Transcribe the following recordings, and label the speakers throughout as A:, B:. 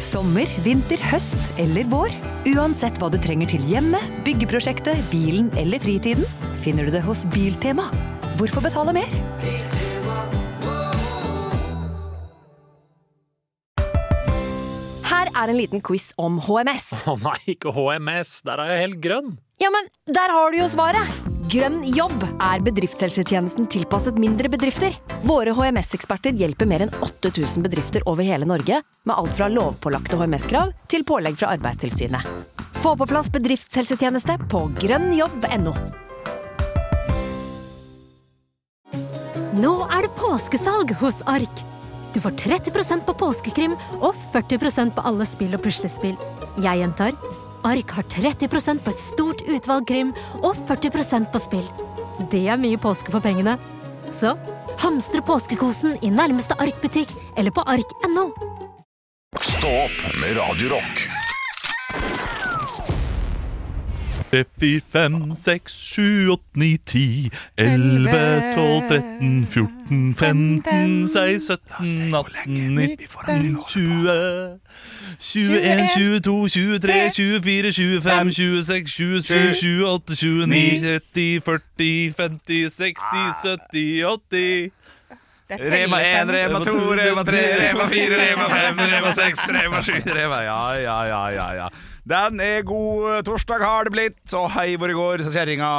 A: Sommer, vinter, høst eller vår. Uansett hva du trenger til hjemmet, byggeprosjektet, bilen eller fritiden, finner du det hos Biltema. Hvorfor betale mer?
B: Her er en liten quiz om HMS.
C: Å nei, ikke HMS. Der er jeg helt grønn.
B: Ja, men der har du jo svaret! Grønn jobb er bedriftshelsetjenesten tilpasset mindre bedrifter. Våre HMS-eksperter hjelper mer enn 8000 bedrifter over hele Norge med alt fra lovpålagte HMS-krav til pålegg fra Arbeidstilsynet. Få på plass bedriftshelsetjeneste på grønnjobb.no.
D: Nå er det påskesalg hos Ark. Du får 30 på påskekrim og 40 på alle spill og puslespill. Jeg gjentar Ark har 30 på et stort utvalg krim og 40 på spill. Det er mye påske for pengene. Så hamstre påskekosen i nærmeste Ark-butikk eller på ark.no.
E: Stå opp med Radio Rock.
F: Fy, fem, seks, sju, åtte, ni, ti, elleve, tolv, tretten, fjorten, femten, seks, sytten, atten, nitten, tjue. 21, 22, 23, 24, 25, 26, 27, 28, 29, 30, 40, 50, 60, 70, 80 Rema 1, Rema 2, Rema 3, Rema 4, Rema 5, Rema 6, Rema 7, Rema Ja, ja, ja, ja, ja.
G: Den er god. Torsdag har det blitt, og hei hvor det går, sa kjerringa.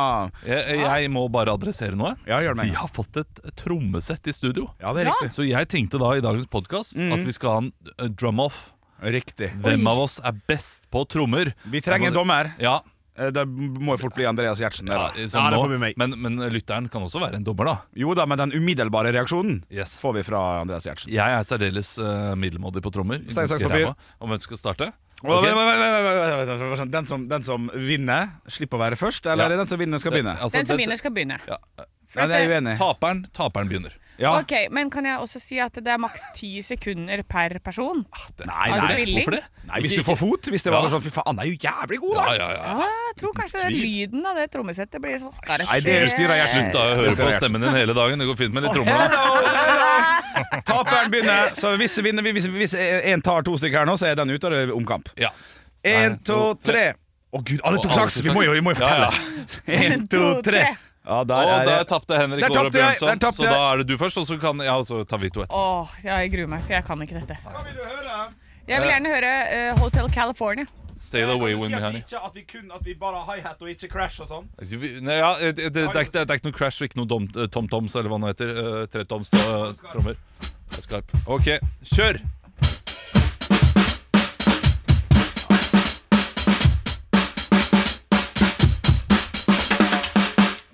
F: Jeg, Eh, jeg må bare adressere noe.
G: Ja, gjør det med en
F: Vi
G: gang.
F: har fått et trommesett i studio.
G: Ja, det er riktig. Mm.
F: Så jeg tenkte da i dagens podkast at vi skal ha en eh, drum-off.
G: Riktig.
F: Hvem av oss er best på trommer?
G: Vi trenger en dommer.
F: Ja,
G: Eh, Det må jo fort bli Andreas Gjertsen.
F: ja,
G: der, da.
F: sånn nå. Men, men lytteren kan også være en dommer, da.
G: Jo da, men den umiddelbare reaksjonen
F: Yes.
G: får vi fra Andreas Gjertsen.
F: Jeg er særdeles eh, middelmådig på trommer.
G: Stein, saks,
F: Ganske
G: papir.
F: ræva. Om hvem som skal starte?
G: Og-
F: Ok.
G: vent, vent, vent, vent, vent, vent, vent. Den som, den som vinner, slipper å være først, eller er
F: Ja.
G: det den som vinner, skal begynne?
F: Altså,
H: Den som
F: det-
H: vinner, skal begynne.
F: ja,
G: Nei, det er jeg uenig i.
F: Taperen, taperen begynner.
G: Ja.
H: Ok, Men kan jeg også si at det er maks ti sekunder per person?
F: Nei,
H: Altså,
F: nei.
H: spilling?
F: Hvorfor det?
G: Nei, hvis du får fot. Hvis det
F: Ja.
G: var sånn, fy faen, han er jo jævlig god, da!
F: Ja, ja, ja.
H: Ja, Ah, jeg tror kanskje den lyden av det trommesettet blir sånn skarp.
G: Nei, det styrer Gjertsen.
F: Slutt da å
G: Det styrer
F: høre på
G: Gjertsen.
F: stemmen din hele dagen. Det går fint med litt trommer. da.
G: Taperen begynner. Så hvis, vinner, vi- hvis, hvis en tar to stykker her nå, så er den ute, og det er omkamp.
F: Ja.
G: En, to, tre. Å gud, alle tok saks! Vi må jo, vi må jo fortelle. En, to, tre. Ja, der
F: Og
G: er
F: der
G: det.
F: tapte Henrik
G: Der
F: Olav
G: tapte jeg,
F: Bjørnson,
G: der tapte
F: så
G: jeg.
F: da er det du først, og så kan ja, altså, og så tar vi to etter.
H: Åh, ja, jeg gruer meg, for jeg kan ikke dette. Jeg vil gjerne høre eh, Hotel California.
F: Sail away when we honey.
G: at vi kun at vi bare har hi-hat og ikke crash og sånn?
F: Altså, Nei, ja, det, det, det, er ikke, det er ikke noe Crash og ikke noe dom- eh, TomToms eller hva det heter. eh, Tretoms eh, trommer. Det er Skarp. OK, kjør!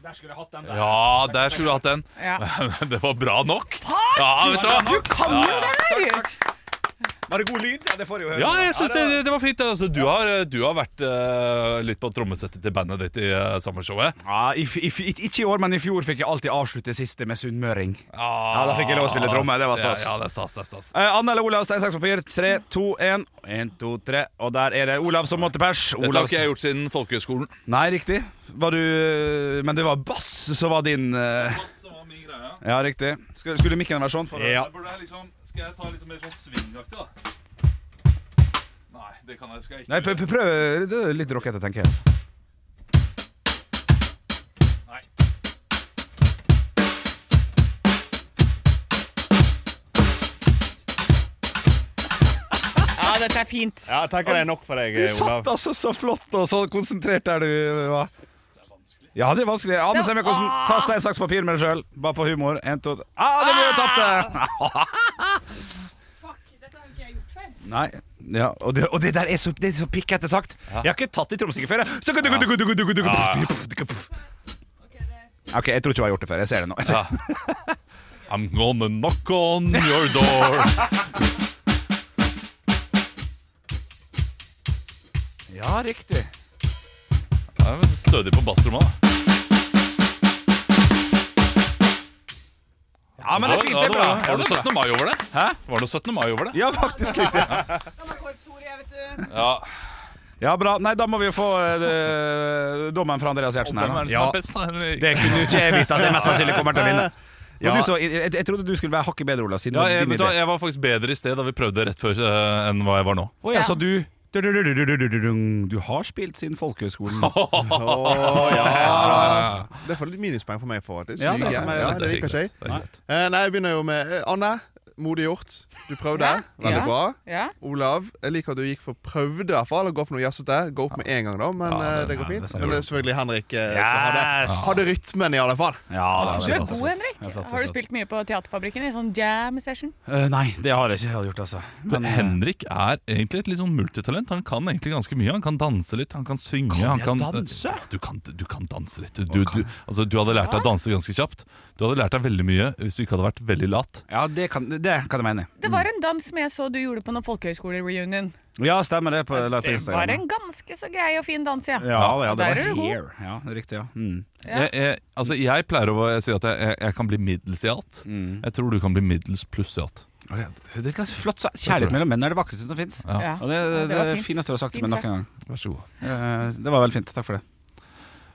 G: Der skulle jeg hatt den
F: Ja, der skulle du hatt den.
H: Ja.
F: Det var bra nok. Eh. Ja, vet du hva?
H: Kan jo det her!
G: Var det god lyd? Ja, det får jeg jo høre.
F: Ja, jeg syns det, det var fint. Altså, du, har, eh, du har vært eh, litt på trommesettet til bandet ditt i uh, sommershowet.
G: Ja, i, f- i, f- ikke i år, men i fjor fikk jeg alltid avslutte siste med sunnmøring.
F: Ja,
G: da fikk jeg lov å spille tromme, det var stas.
F: Ja, ja, det er stas, det er stas.
G: Eh, Anne eller Olav, stein, saks, papir. Tre, to, én. Én, to, tre. Og der er det Olav som måtte pers.
F: Dette har
G: Olavs-
F: ikke jeg gjort siden folkehøgskolen.
G: Nei, riktig. Var du eh, Men det var bass som var din eh, Ja, riktig. Skulle, skulle mikken være sånn? For,
F: Ja. skal jeg ta litt mer sånn svingaktig, da? Nei, det kan jeg, skal jeg
G: Nei, pr- pr- prøv det er litt rockete, tenker jeg.
H: Ja, dette er fint.
I: Ja, jeg tenker det er nok for deg,
G: Du satt
I: Olav.
G: altså så flott og så konsentrert der du var. Ja, det er vanskelig. Anne Semjakåsen, ta stein, saks, papir med deg sjøl. Bare på humor. Én, to tre. Ah, det blir jo tapte! Nei. Ja, og det, og det der er så, det er så pikkete sagt. Jeg har ikke tatt i trommestykker før. jeg. Så- OK, jeg tror ikke hun har gjort det før. Jeg ser det nå.
F: Ja. I'm gonna knock on your door.
G: Ja, riktig.
F: Ja, men Stødig på basstromma. da.
G: Ja, men det er fint. Det er bra.
F: Ja, det var- Var det 17. mai over det? Hæ? Var det 17. mai over det?
G: Ja, faktisk riktig.
F: Ja.
G: Ja, bra. Nei, da må vi jo få eh, dommen fra Andreas Gjertsen her nå.
F: Hvem er det som er best, da? Henrik?
G: Det kunne jo ikke jeg vite at jeg mest sannsynlig kommer til å vinne. Men
F: Ja.
G: du så, jeg, jeg, jeg trodde du skulle være hakket bedre, Ola. Siden det
F: Ja,
G: var
F: jeg,
G: din
F: vet du hva,
G: idé.
F: jeg var faktisk bedre i sted da vi prøvde rett før eh, enn hva jeg var nå.
G: Å ja, så du Du har spilt siden folkehøyskolen.
I: Å, ja da. Det får litt minuspoeng for meg for at jeg
G: Ja, det er
I: suger.
G: for meg,
I: Ja,
G: det
I: det
F: er
I: liker ikke
F: hyggelig.
I: jeg. Eh, Nei, jeg begynner jo med eh, Anne. Modig gjort. Du prøvde. Veldig
H: Ja.
I: bra.
H: Ja.
I: Olav, jeg liker at du gikk for prøvde, i hvert fall. Gå for noe jazzete. Gå opp med en gang, da, men
F: Ja,
I: eh,
F: det-
I: det går
F: ja,
I: fint.
F: det
I: Men det er selvfølgelig Henrik eh, som hadde,
C: Yes.
I: hadde rytmen, i alle fall.
G: Ja,
H: Du
G: det altså.
H: er
G: er
H: god, Henrik. Har du spilt mye på Teaterfabrikken? I sånn jam session?
G: Eh, Nei, det har jeg ikke jeg hadde gjort, altså.
F: Men eh, Henrik er egentlig et litt sånn multitalent. Han kan egentlig ganske mye. Han kan danse litt, han kan synge. han
G: jeg danse?
F: Ja, du, kan, du kan danse litt. Du, du, altså, du hadde lært deg å danse ganske kjapt. Du hadde lært deg veldig mye hvis du ikke hadde vært veldig lat.
G: eh, Ja, det kan, det kan jeg mene.
H: Det var en dans som jeg så du gjorde på noen folkehøyskole-reunion.
G: Ja, stemmer det. På, la ut på
H: Det Eh, var
G: Instagram.
H: en ganske så grei og fin dans, ja.
G: Ja, ja, det
H: Der
G: var
H: er du god.
G: hair. Ja, det er riktig, ja. Mm.
H: Ja.
F: Jeg, jeg, altså, jeg pleier å si at jeg, jeg, jeg kan bli middels i alt. Jeg tror du kan bli middels pluss i alt.
G: Å, ja, Det er ganske flott. sa- Kjærlighet mellom menn er det vakreste som fins.
F: Ja.
H: Ja.
G: Og det, det,
H: det var
G: det
H: fint.
G: fineste du har sagt til
H: Fint
G: meg noen gang.
F: Vær så god.
G: Eh, Det var veldig fint. Takk for det.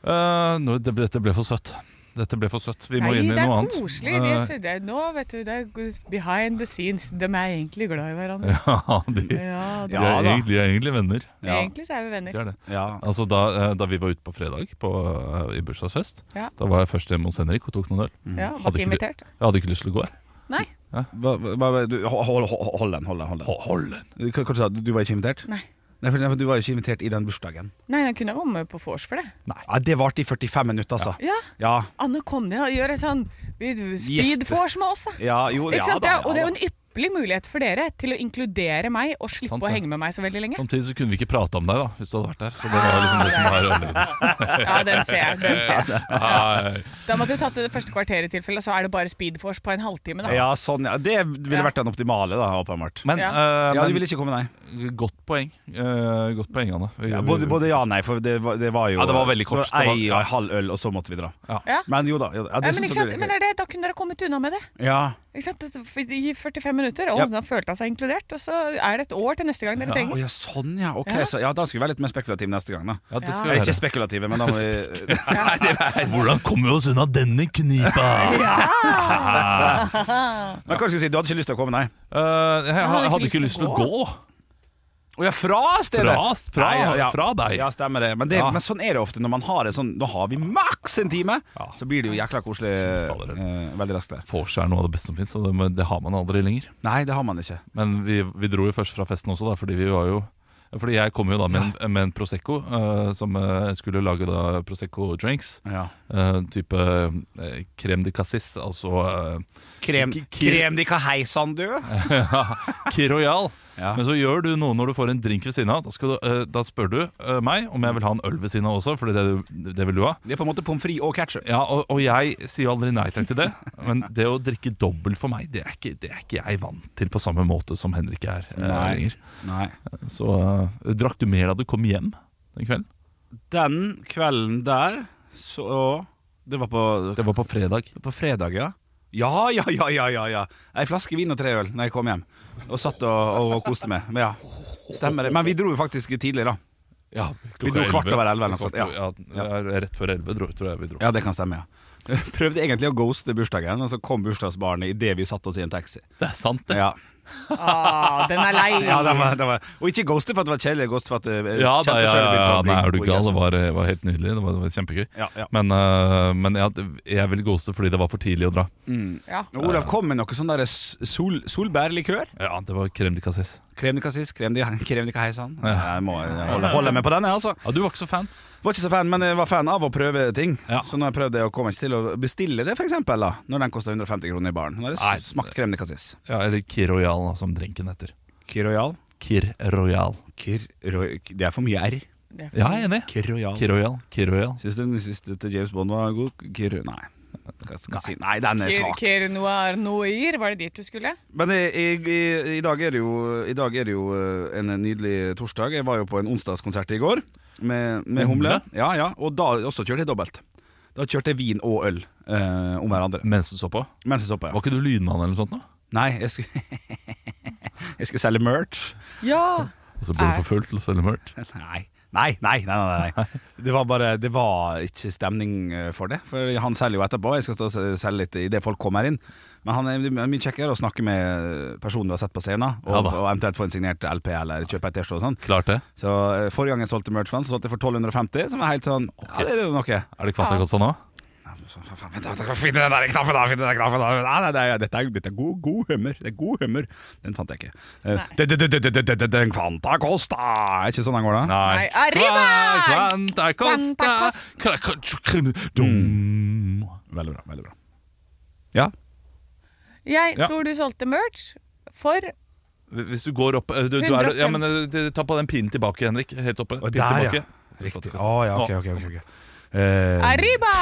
F: Eh, nå, det, dette ble for søtt. Dette ble for søtt. Vi må
H: Nei,
F: inn i
H: det er
F: noe annet.
H: koselig. Vi er, så- det er, nå, vet du, det er good- behind the scenes. De er egentlig glad i hverandre.
F: Eh, ja, de, de,
H: Ja, da.
G: Ja,
F: er,
G: da.
F: egentlig- de er egentlig venner.
G: Ja.
H: Egentlig så er vi venner.
F: De er det.
G: Ja.
F: Altså da, eh, da vi var ute på fredag på, eh, i bursdagsfest,
H: Ja.
F: da var jeg først hjemme hos Henrik og tok noen øl.
G: Mm.
H: Ja,
F: Hadde
H: var ikke
F: ikke det-
H: invitert.
F: Jeg hadde ikke lyst til å gå. jeg.
H: Nei.
G: Hva- hva- hva- du- Hold hold- hold- hold den, hold den. Hold den. Du- Hva hva sa du? Du var ikke invitert?
H: Nei.
G: Nei, for, nei, for du var jo ikke invitert i den bursdagen.
H: Nei, han kunne komme på vors for det.
G: Ja, det varte i 45 minutter, altså.
H: Ja,
G: Ja,
H: Anne kom ned og gjør en sånn speed
G: Gjeste.
H: vors med oss, da.
G: ja jo,
H: Ikke
G: ja,
H: sant? Det er- og det er jo en ypperlig mulighet for dere til å inkludere meg og slippe
F: Sant
H: å
F: det.
H: henge med meg så veldig lenge.
F: Samtidig så kunne vi ikke prate om deg da, hvis du hadde vært der. Så det var liksom det som var ødeleggende.
H: Ja, den ser jeg. Den ser jeg.
F: Nei.
H: Da måtte du tatt det første kvarteret i tilfelle, og så er det bare speed vors på en halvtime, da.
G: Ja, sånn, ja. Det ville
H: Ja.
G: vært den optimale, da, åpenbart.
F: Men, eh,
G: Ja, du
F: men
G: ville ikke komme, nei.
F: godt poeng. Eh, godt poeng, Anne. Vi-
G: Ja,
F: vi-
G: både, både ja og nei, for det var, det var jo
F: Ja, det var veldig kort.
G: Det var
F: Det var-
G: ei og ei halv øl, og så måtte vi dra.
F: Ja.
H: Ja.
G: Men jo da. jo da. Ja,
H: Ja,
G: det
H: men,
G: synes
H: ikke
G: jeg
H: sant?
G: det-
H: men det er det, da kunne dere kommet unna med det.
G: Ja.
H: Ikke sant? At I 45 minutter. Og
G: Ja.
H: da følte han seg inkludert. Og så er det et år til neste gang dere
G: Å
H: trenger.
G: ja, sånn ja. Ok,
H: Ja.
G: Så, ja, da skal vi være litt mer spekulative neste gang, da.
F: Ja, det skal
G: Nei,
F: vi
G: ikke
F: være.
G: spekulative, men da må vi
F: Hvordan kommer vi oss unna denne knipa?
G: Men hva skal jeg si, du hadde ikke lyst til å komme, nei?
F: Eh, jeg,
H: hadde
F: hadde
H: ikke
F: ikke lyst til å gå.
G: Å ja, fra stedet!
F: Fra, fra,
G: Nei, ja, ja.
F: fra deg.
G: Ja, stemmer det. Men, det
F: Ja.
G: men sånn er det ofte når man har en sånn Nå har vi maks en time!
F: Ja.
G: Så blir det jo jækla koselig
F: fader.
G: eh, veldig raskt der.
F: Vors er noe av det beste som fins, og det, men det har man aldri lenger.
G: Nei, det har man ikke.
F: Men vi, vi dro jo først fra festen også, da, fordi vi var jo fordi jeg kom jo da med en, med en Prosecco, eh, som eh, skulle lage da Prosecco drinks.
G: Ja.
F: eh, type eh, crème de cassis, altså
G: Krem,
F: K- k-
G: krem de kaheisan, du!
F: uh, Royal.
G: Ja.
F: Men så gjør du noe når du får en drink ved siden av. Da, skal du, eh, da spør du eh, meg om jeg vil ha en øl ved siden av også, for det, du- det vil du ha.
G: Det er på en måte pommes frites og ketsjup.
F: Ja, og, og jeg sier jo aldri nei takk til det, men det å drikke dobbelt for meg, det er ikke, det er ikke jeg vant til på samme måte som Henrik er eh,
G: Nei.
F: lenger.
G: Nei.
F: Så eh, drakk du mer da du kom hjem den kvelden?
G: Den kvelden der, så Det var på,
F: Det var på fredag.
G: på fredag, ja. Ja, ja, ja, ja, ja, ja. Ei flaske vin og tre øl når jeg kom hjem. Og satt og, og koste meg. Men ja, stemmer det. Men vi dro jo faktisk tidlig, da.
F: Ja,
G: Vi dro kvart over elleve eller noe sånt, ja.
F: Ja, ja, Rett før elleve, dro- tror jeg vi dro.
G: Ja, det kan stemme, ja. Prøvde egentlig å ghoste bursdagen, og så kom bursdagsbarnet idet vi satte oss i en taxi.
F: Det er sant, det.
G: Ja,
H: Ah, den er lei!
G: ja det var, det var. Og ikke ghoste for at det var kjedelig, ghoste for at jeg
F: Ja, da,
G: kjente
F: ja,
G: selv
F: ja,
G: begynte å bli
F: nei, er
G: god
F: du
G: i
F: gal? Det
G: gresset.
F: var, det var helt nydelig. Det var, det var kjempegøy.
G: Ja, ja.
F: Men, øh, men ja, det- jeg ville ghoste fordi det var for tidlig å dra.
H: Ja.
G: Og Olav kom med noe sånn der sol, solbærlikør.
F: Ja, Det var krem de cassis.
G: Krem de cassis, krem de, krem de heisan.
F: Ja.
G: Jeg må holde, holde med på den, jeg, altså.
F: Ja, Du var ikke så fan?
G: Var ikke så fan, men jeg var fan av å prøve ting.
F: Ja.
G: Så nå har jeg prøvd det, og kommer ikke til å bestille det, for eksempel, da. Når den koster 150 kroner i baren. Nå har jeg
F: Nei.
G: s- smakt krem de cassis.
F: Ja, Eller Kir Royal, da, som drinken heter.
G: Kir Royal.
F: Kir Royal.
G: Kir Roy- Det er for mye R.
F: Ja, jeg er enig.
G: Kir Royal.
F: Kir Royal. Kir Royal.
G: Syns du den siste til James Bond var god? Kir Nei. Hva skal jeg si? Nei, den er
H: Kir,
G: svak.
H: Kir Noir Noir, var det dit du skulle?
G: Men i, i, i, i, dag er det jo, i dag er det jo eh, en nydelig torsdag. Jeg var jo på en onsdagskonsert i går med, med Humle.
F: Humle?
G: Ja, ja, Og da også kjørte jeg dobbelt. Da kjørte jeg vin og øl eh, om hverandre.
F: Mens du så på?
G: Mens jeg så på.
F: Var
G: Ja.
F: ikke du lynmann eller noe sånt? nå?
G: Nei, jeg skulle, jeg skulle selge merch.
H: Ja!
F: Og så ble du for full til å selge mørkt?
G: Nei, Nei, nei, nei, nei, nei. Det var bare Det var ikke stemning eh, for det. For han selger jo etterpå. Jeg skal stå og se- selge litt idet folk kommer inn. Men han er my- mye kjekkere å snakke med personen du har sett på scenen, og,
F: Ja da.
G: og eventuelt få en signert LP eller kjøpe ei T-skjorte og sånn.
F: Klart det.
G: Så eh, Forrige gang jeg solgte merch for han, så solgte jeg for 1250, som er helt sånn Ja, det er jo noe.
F: Er det kvatakosta sånn nå?
G: Så, faen, faen, Vent, da, da, finn den der knappen, da! Finn den der knappen, da. Nei, nei, det er, dette er, dette er god, god hummer. Det er god hummer. Den fant jeg ikke. Eh, det- det- det- det- det- det- det- Den kvanta kosta! Er ikke sånn den går, da?
H: Nei, arriba!
F: Kvanta kosta Dum.
G: Veldig bra. veldig bra Ja,
H: Jeg
G: Ja.
H: tror du solgte merch for
F: Hvis du går opp eh, du, du er, ja, men, eh, Ta på den pinnen tilbake, Henrik. Helt oppe.
G: og
F: Pinn
G: der, ja.
F: tilbake.
G: Riktig. Å, ja, ok,
F: Nå.
G: ok, ok, ok. Eh,
H: Arriba!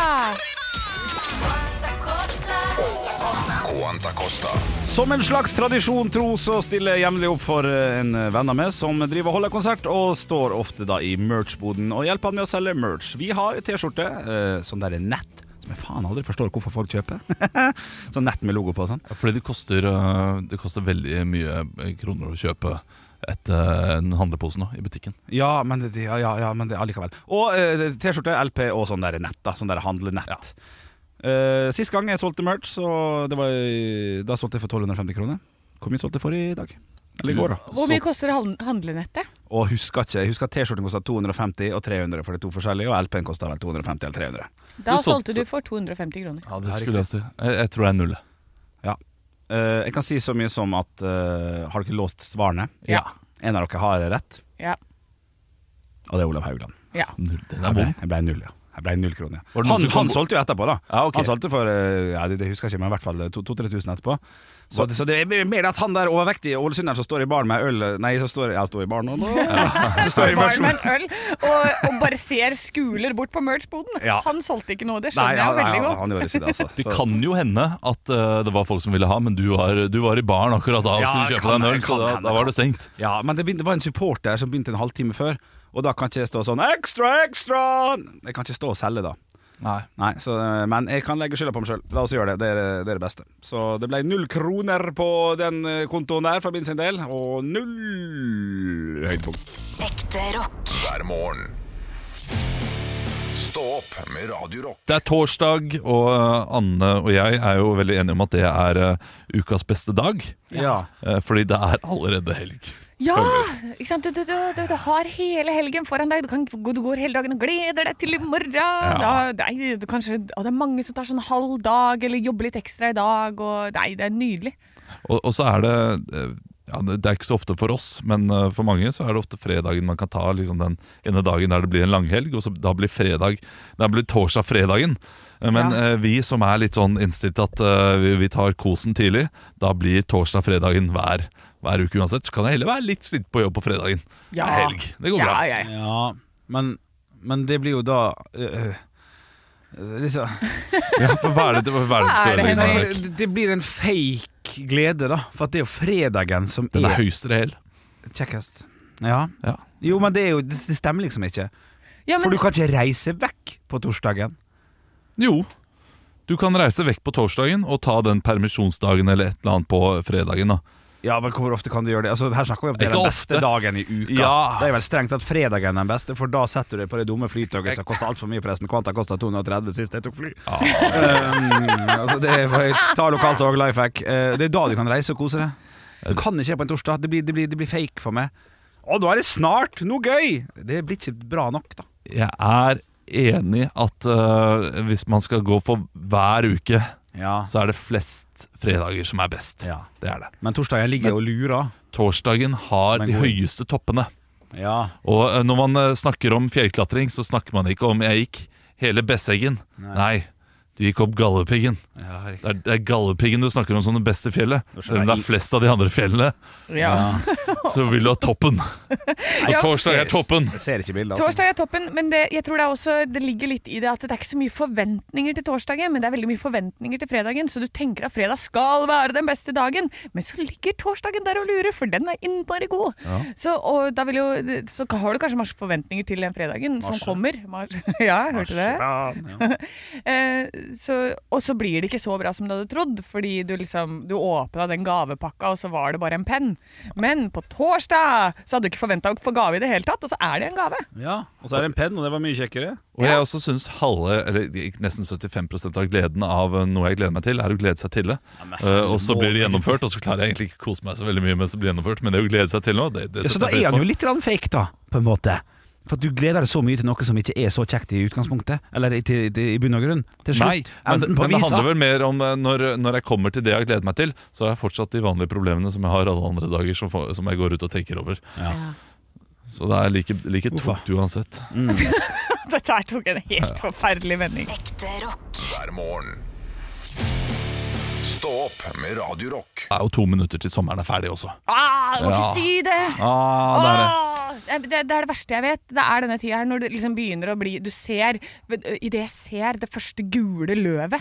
E: Quanta Costa.
G: som en slags tradisjon tro så stiller jeg jevnlig opp for eh, en venn av meg som driver og holder konsert, og står ofte da i merch-boden og hjelper han med å selge merch. Vi har T-skjorte eh, som der er nett, som jeg faen aldri forstår hvorfor folk kjøper. sånn nett med logo på og sånn.
F: Fordi det koster, eh, det koster veldig mye eh, kroner å kjøpe et, eh, en handlepose nå i butikken.
G: Ja, men det, ja, ja, ja, men det allikevel. Og eh, T-skjorte, LP og sånn der nett, da. Sånn der handlenett. Eh, sist gang jeg solgte merch, så det var, i- da solgte jeg for 1250 kroner. Hvor mye solgte jeg for i dag? Eller i går, da.
H: Hvor mye koster hand- handlenettet?
G: Og husker ikke, jeg husker at T-skjorten kosta 250 og 300 for de to forskjellige, og LP-en kosta vel 250 eller 300.
H: Da
F: Du solgte-
H: solgte du for 250 kroner.
F: Ja, det skulle jeg si. Jeg, jeg tror det er null.
G: Eh, jeg kan si så mye som at eh, har dere låst svarene?
H: Ja.
G: En av dere har rett,
H: Ja.
G: og det er Olav Haugland.
H: ja.
F: null. Den
G: Jeg
F: er
G: ble,
F: bom.
G: jeg ble null, ja. Jeg ble null kroner. Ja.
F: Var det noen
G: Han,
F: som kom-
G: han solgte jo etterpå, da.
F: Ja, ok.
G: Han solgte for eh, ja, det, det husker jeg ikke, men i hvert fall eh, 2000-3000 etterpå. Så, det- så det er mer at han der overvektige ålesunderen som står i baren med øl eh, Nei, som står, ja, står i baren nå, da. Som står i
H: Bar med
G: baren.
H: en øl og, og bare ser skuler bort på merch-boden.
G: Ja.
H: Han solgte ikke noe, det
G: Nei,
H: skjønner
G: ja,
H: jeg
G: nei,
H: veldig
G: han,
H: godt.
G: han gjorde ikke det, altså.
F: Det
G: Så-
F: kan jo hende at eh, det var folk som ville ha, men du var, du var i baren akkurat da og
G: Ja,
F: skulle kjøpe
G: kan
F: deg en øl,
G: hende,
F: så
G: kan
F: da,
G: hende,
F: da var
G: kan-
F: det stengt.
G: Ja, men det, begynte, det var en supporter som begynte en halvtime før, og da kan ikke jeg stå sånn Ekstra, ekstra! Jeg kan ikke stå og selge da.
F: Nei.
G: Nei, så, eh, Men jeg kan legge skylda på meg sjøl. La oss gjøre det. Det er det, er det beste. Så det ble null kroner på den eh, kontoen der for min sin del, og null høydepunkt.
E: Hver morgen. Stå opp med Radio Rock.
F: Det er torsdag, og eh, Anne og jeg er jo veldig enige om at det er eh, ukas beste dag.
G: Ja.
F: eh, Fordi det er allerede helg.
H: Ja! Ikke sant? Du, du, du, du, du har hele helgen foran deg. Du, kan, du går hele dagen og gleder deg til i morgen. Da, nei, du, kanskje, og det er mange som tar sånn halv dag eller jobber litt ekstra i dag. Og, nei, det er nydelig.
F: Og, og så er det eh, ja, Det det er ikke så ofte for oss, men eh, for mange så er det ofte fredagen man kan ta liksom den ene dagen der det blir en langhelg, og så da blir fredag Da blir torsdag fredagen. Eh, Men
H: Ja.
F: eh, vi som er litt sånn innstilt at eh, vi, vi tar kosen tidlig, da blir torsdag fredagen hver, hver uke uansett. Så kan jeg heller være litt slitt på jobb på fredagen.
H: Ja.
F: Det er helg. Det går
H: Ja,
F: bra.
H: ja, ja.
G: Ja, men, men det blir jo da øh, øh, liksom
F: Ja, for hva er det, hva er det,
H: Hva er det,
F: du skal gjøre,
G: Nei,
H: Henrik?
F: Henrik?
G: for det, det blir en fake glede, da. For at det er jo fredagen som
F: Den er
G: er
F: høyeste reell.
G: kjekkest. Ja.
F: Ja.
G: Jo, men det, er jo, det det stemmer liksom ikke.
H: Ja,
G: For
H: men,
G: du kan ikke reise vekk på torsdagen.
F: Jo. Du kan reise vekk på torsdagen og ta den permisjonsdagen eller et eller annet på fredagen. da
G: Ja, men Hvor ofte kan du gjøre det? Altså, her snakker vi om det er
F: Ikke
G: den beste
F: ofte.
G: dagen i uka.
F: Ja.
G: Det er vel strengt tatt fredagen er den beste, for da setter du deg på det dumme flytoget som koster altfor mye, forresten. Kvanta kosta 230 sist jeg tok fly. um, altså, det er for høyt. Ta lokaltog, life hack. Eh, det er da du kan reise og kose deg. Du kan ikke det på en torsdag. Det blir, det blir, det blir fake for meg. Å, nå er det snart! Noe gøy! Det blir ikke bra nok, da.
F: Jeg er enig at øh, hvis man skal gå for hver uke,
G: Ja.
F: så er det flest fredager som er best.
G: Ja.
F: Det er det.
G: Men torsdagen ligger og lurer.
F: Torsdagen har
G: Men
F: de
G: god-
F: høyeste toppene.
G: Ja.
F: Og øh, når man øh, snakker om fjellklatring, så snakker man ikke om 'jeg gikk hele Besseggen'. Nei. du gikk opp Galdhøpiggen. det, er, det er Galdhøpiggen du snakker om som det beste fjellet. Selv om det er flest av de andre fjellene,
H: ja.
F: så vil du ha toppen. Så torsdag er toppen.
G: Jeg ser ikke bildet, altså.
H: Torsdag er toppen, men det, jeg tror det, er også, det ligger litt i det at det er ikke så mye forventninger til torsdagen, men det er veldig mye forventninger til fredagen, så du tenker at fredag skal være den beste dagen, men så ligger torsdagen der og lurer, for den er innmari god. Så, og da vil jo, så har du kanskje masse forventninger til den fredagen som kommer. Mars, ja, hørte du det?
G: Ja, ja.
H: Eh, så, og så blir det ikke så bra som du hadde trodd, fordi du liksom Du åpna den gavepakka, og så var det bare en penn. Men på torsdag så hadde du ikke forventa å få gave i det hele tatt, og så er det en gave.
G: Ja, Og så er det en penn, og det var mye kjekkere.
F: Og jeg også syns halve, eller ikke- nesten 75 av gleden av eh, noe jeg gleder meg til, er å glede seg til det. Eh, og så blir det gjennomført, og så klarer jeg egentlig ikke å kose meg så veldig mye mens det blir gjennomført, men det å glede seg til noe, det, det
G: Ja, så da
F: setter jeg
G: er
F: pris
G: han
F: på.
G: jo litt grann fake, da, på en måte. For at du gleder deg så mye til noe som ikke er så kjekt i utgangspunktet. Eller i, til, til, i bunn og grunn. Til
F: Nei,
G: slutt.
F: men,
G: enten på
F: men det
G: visa.
F: handler vel mer om eh, når, når jeg kommer til det jeg gleder meg til, så har jeg fortsatt de vanlige problemene som jeg har alle andre dager, som, får- som jeg går ut og tenker over. Så det er like, like
G: Uffa.
F: tungt uansett.
G: Mm.
H: Dette her tok en helt forferdelig vending.
E: hver morgen. Stå opp med Radio Rock.
F: Det er jo to minutter til sommeren er ferdig også.
H: Ah, må
F: Ja.
H: ikke si det!
F: Ah, det er det.
H: Åh, det, det, det er det verste jeg vet. Det er denne tida her når du liksom begynner å bli Du ser Idet jeg ser det første gule løvet,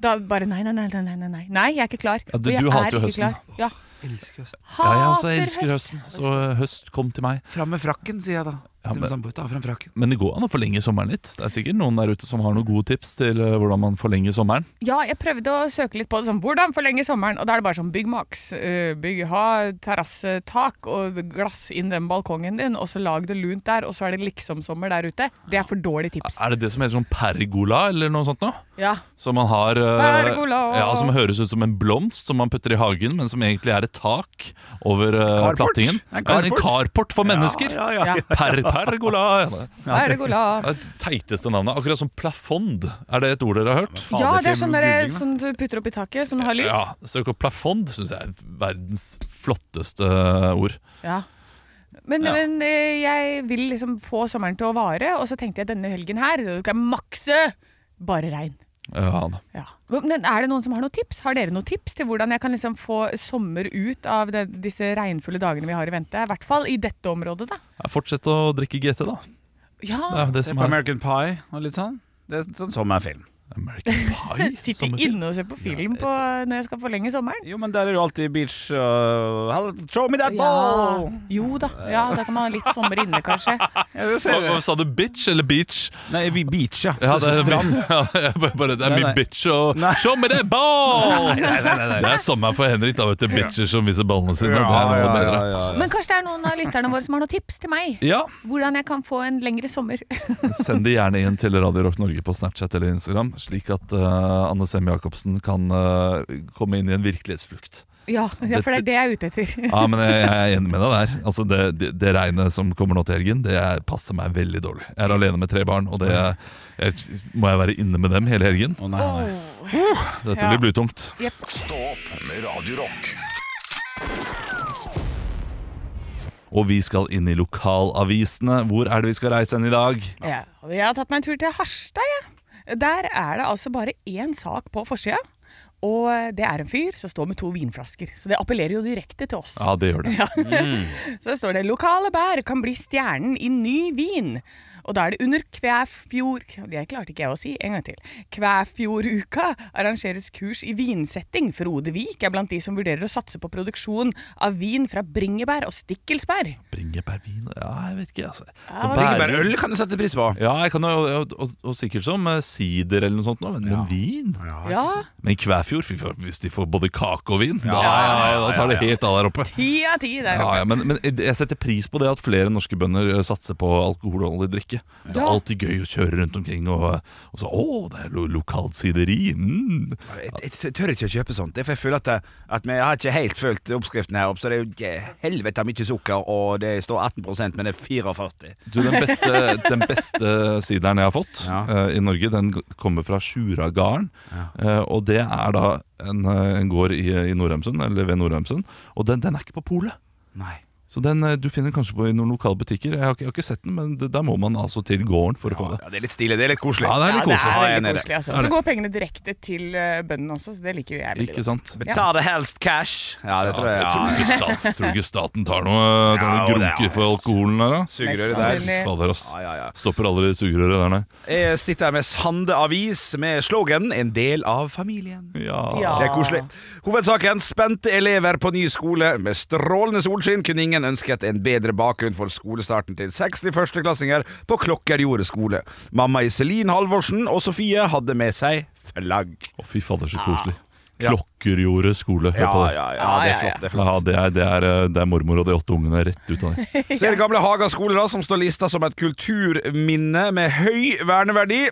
H: da bare Nei, nei, nei. nei, nei, nei, nei jeg er ikke klar.
F: Ja, du-
H: Og jeg
F: du hater
H: er
F: jo
H: ikke
F: høsten.
H: klar. Ja.
F: Ja, jeg
H: Hater
F: også elsker høsten, så eh, høst kom til meg.
G: Fram med frakken, sier jeg da.
F: Ja,
G: Til
F: men-
G: min samboer, ta fram frakken.
F: Men det går an å forlenge sommeren litt. Det er sikkert noen der ute som har noen gode tips til eh, hvordan man forlenger sommeren.
H: Ja, jeg prøvde å søke litt på det. Sånn, hvordan forlenge sommeren? Og da er det bare sånn bygg maks. øh, Bygg, ha terrassetak og glass inn den balkongen din, og så lag det lunt der, og så er det liksom sommer der ute. Det er for dårlig tips.
F: Er det det som heter sånn pergola eller noe sånt noe?
H: Ja.
F: Som man har eh,
H: Pergola.
F: ja, Som høres ut som en blomst som man putter i hagen, men som egentlig er et tak over eh,
G: Carport.
F: plattingen.
G: En
F: Ja, en
G: carport.
F: carport for mennesker!
G: Ja, ja, ja.
F: Per, pergola. Ja, det
H: Pergola.
F: er det teiteste navnet. Akkurat som plafond. Er det et ord dere har hørt?
H: Ja,
G: Fader,
H: det er
G: til
H: sånn der,
G: googlingen, da.
H: sånn du putter opp i taket, som har lys.
F: Ja, Søk opp plafond, syns jeg er verdens flotteste eh, ord.
H: Ja. Men,
F: Ja.
H: men eh, jeg vil liksom få sommeren til å vare, og så tenkte jeg denne helgen her skal jeg makse bare regn.
F: Ja, da.
H: Ja. Men er det noen som har noen tips? Har dere noen tips til hvordan jeg kan liksom få sommer ut av det, disse regnfulle dagene vi har i vente? I hvert fall i dette området, da.
F: Ja, Fortsett å drikke GT, da. Det
H: Ja,
F: er jo det
G: Se
F: som
G: på
F: er
G: American Pie og litt sånn. Det er sånn sommerfilm.
F: American Pie.
H: Sitte
F: som-
H: inne og se på film på, når jeg skal forlenge sommeren.
G: Jo, men der er jo alltid beach og Hell, Show me that
H: Ja.
G: ball!
H: Jo da. Ja, da kan man ha litt sommer inne, kanskje.
G: Ja, det
F: Hva,
G: ser
F: hva
G: jeg.
F: sa du, bitch eller beach?
G: Nei, vi- beach, ja.
F: Ja, det er,
G: Strand.
F: mye- ja, jeg bare, bare, det er
G: Nei,
F: mye
G: nei.
F: bitch og
G: Nei.
F: Show me that ball! Det er sommer for Henrik, da, vet du. Bitcher som viser ballene sine. det er noe bedre.
G: ja, ja.
H: Men kanskje det er noen av lytterne våre som har noen tips til meg?
F: Ja,
H: Hvordan jeg kan få en lengre sommer.
F: Send det gjerne inn til Radio Rock Norge på Snapchat eller Instagram, slik at eh, Anne Sem Jacobsen kan eh, komme inn i en virkelighetsflukt.
H: ja, ja, for det er det jeg er ute etter.
F: Ja, men jeg, jeg er enig med deg der. Altså, det, det, det regnet som kommer nå til helgen, det er- passer meg veldig dårlig. Jeg er alene med tre barn, og det jeg, må jeg være inne med dem hele helgen.
G: Å, nei, nei.
F: Dette
H: Ja.
F: blir blytungt.
E: Stå opp med Radio Rock.
F: Og vi skal inn i lokalavisene. Hvor er det vi skal reise hen i dag?
H: Ja. Jeg har tatt meg en tur til Harstad, jeg. Der er det altså bare én sak på forsida. Og det er en fyr som står med to vinflasker. Så det appellerer jo direkte til oss.
F: Ja, det gjør det.
H: Så står det 'Lokale bær kan bli stjernen i ny vin'. Og da er det under Kvæfjord Det klarte ikke jeg å si. En gang til. Kvæfjorduka arrangeres kurs i vinsetting. Frode Vik er blant de som vurderer å satse på produksjon av vin fra bringebær og stikkelsbær.
F: Bringebærvin Ja, jeg vet ikke, altså.
H: hva-
F: Bære-
G: Bare øl kan du sette pris på.
F: Ja, jeg kan jo, og, og, og sikkert som eh, sider eller noe sånt, nå, men, men vin?
H: Ja,
F: Men Kvæfjord, fy faen, hvis de får både kake og vin, da,
G: ja,
F: ja, da tar det
G: ja, ja.
F: helt av der oppe.
H: ti av ti
F: Ja,
H: der. oppe.
F: ja, men, men jeg setter pris på det at flere norske bønder eh, satser på alkoholholdig drikke. Det er alltid gøy å kjøre rundt omkring og, eh, og så Å, det er lo lokalt sideri! Mm.
G: Jeg, jeg t- tør ikke å kjøpe sånt. Det er for Jeg føler at, jeg, at vi har ikke helt fulgt oppskriften her opp. Så det er jo je- helvete mye sukker, og det står 18 men det er 44
F: Du, den beste, den beste sideren jeg har fått
G: Ja.
F: eh, i Norge, den g- kommer fra Sjuragarden. Eh, og det er da en, eh, en gård i, i Nordheimsund, eller ved Nordheimsund. Og den, den er ikke på polet.
G: Nei.
F: Så den eh, du finner kanskje på i noen lokale butikker. Jeg har ikke, jeg har ikke sett den, men det, der må man altså til gården for å få det.
G: Ja, det er litt stilig. Det er litt koselig.
F: Ja, det er litt
H: Ja, det
F: koselig.
G: Ja, jeg
H: er
G: er enig
H: veldig
G: i det.
H: koselig. Altså.
F: Er
H: Så
F: det?
H: går pengene direkte til eh, bøndene også, så det liker jo jeg veldig
F: Ikke
H: godt.
F: sant?
H: Ja.
G: Ta det helst cash. Ja, det
F: Ja,
G: tror jeg.
F: jeg tror,
G: Ja.
F: ikke staten, tror ikke staten tar noe, tar noe
G: Ja, og det er-
F: grunker for alkoholen der, da?
G: Sugerøret
H: Mest
G: der.
H: sannsynlig. Sugerøret.
F: Fader, ass.
G: Ja, ja, ja.
F: Stopper aldri sugerøret der, nei.
G: Jeg sitter her med Sande Avis med slogan 'En del av familien'.
H: Ja.
G: Det er koselig.
F: Ah.
G: Hovedsaken spente elever på ny skole. Med strålende solskinn kunne ingen ønsket en bedre bakgrunn for skolestarten til 60 førsteklassinger på Klokkerjordet skole. Mamma Iselin Halvorsen og Sofie hadde med seg flagg.
F: Å, fy fader, så koselig.
G: Ja.
F: Klokkerjordet skole. Hør
G: Ja,
F: på det.
G: ja, ja, det
H: Ja, ja,
G: er flott. Det er flott.
F: Ja, det, er, det, er, eh, det er mormor og de åtte ungene rett ut av det.
G: Så er det gamle Haga skole da, som står lista som et kulturminne med høy verneverdi.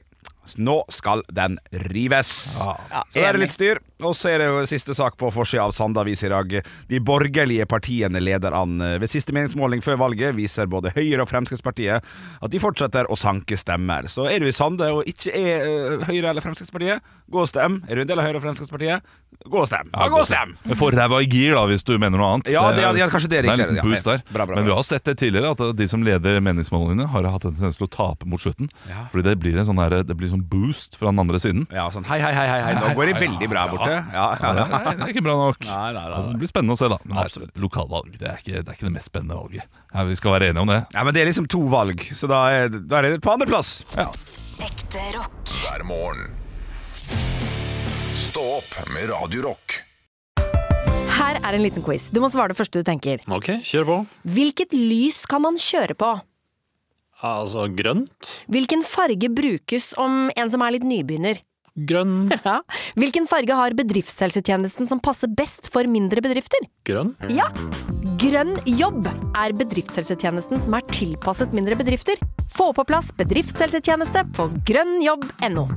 G: Så Nå skal den rives. Så der er det litt styr. Og så er det jo siste sak på forsida av Sandavis i dag. De borgerlige partiene leder an. eh, Ved siste meningsmåling før valget viser både Høyre og Fremskrittspartiet at de fortsetter å sanke stemmer. Så er du i Sande og ikke er eh, Høyre eller Fremskrittspartiet, gå og stem. Er du en del av Høyre og Fremskrittspartiet, gå og stem. Ja, gå og stem!
F: Men Få ræva i gir, da, hvis du mener noe annet.
G: Ja, det- ja, kanskje det er
F: Det
G: riktig.
F: er en liten boost
G: Ja, ja.
F: der.
G: Bra, bra,
F: Men vi
G: bra.
F: har sett det tidligere, at de som leder meningsmålingene, har hatt en tendens til å tape mot slutten.
G: Ja.
F: Fordi det blir en sånn, der, det blir sånn boost fra den andre siden.
G: Ja, sånn hei, hei, hei, hei, hei. Nå går det veldig bra her borte. Ja, ja, ja.
F: Nei, det er ikke bra nok.
G: Nei, nei, nei, nei.
F: Altså, det blir spennende å se, da. Men det er lokalvalg det er, ikke, det er ikke det mest spennende valget. Ja, vi skal være enige om det.
G: Ja, men Det er liksom to valg, så da er, da er det på andreplass.
E: hver morgen. Stå opp med Radio Rock.
B: Her er en liten quiz. Du må svare det første du tenker.
C: Ok, kjør på.
B: Hvilket lys kan man kjøre på?
C: Altså grønt.
B: Hvilken farge brukes om en som er litt nybegynner?
C: Grønn.
B: Ja. Hvilken farge har bedriftshelsetjenesten som passer best for mindre bedrifter?
C: Grønn.
B: Ja! Grønn jobb er bedriftshelsetjenesten som er tilpasset mindre bedrifter. Få på plass bedriftshelsetjeneste på grønnjobb.no.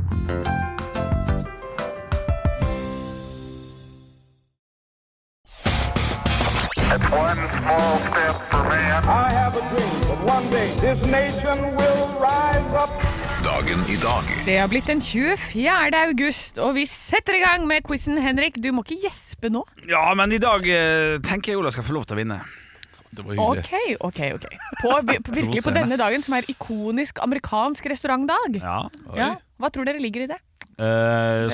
J: I have a dream that one day this nation will rise up.
E: Dagen i dag
H: Det har blitt den 24. august, og vi setter i gang med quizen. Henrik, du må ikke gjespe nå.
G: Ja, men i dag eh, tenker jeg Ola skal få lov til å vinne.
F: Det var hyggelig.
H: Ok, ok, ok. På, på, virkelig på denne dagen, som er ikonisk amerikansk restaurantdag.
G: Ja. Eh,
H: Ja, hva tror dere ligger i det?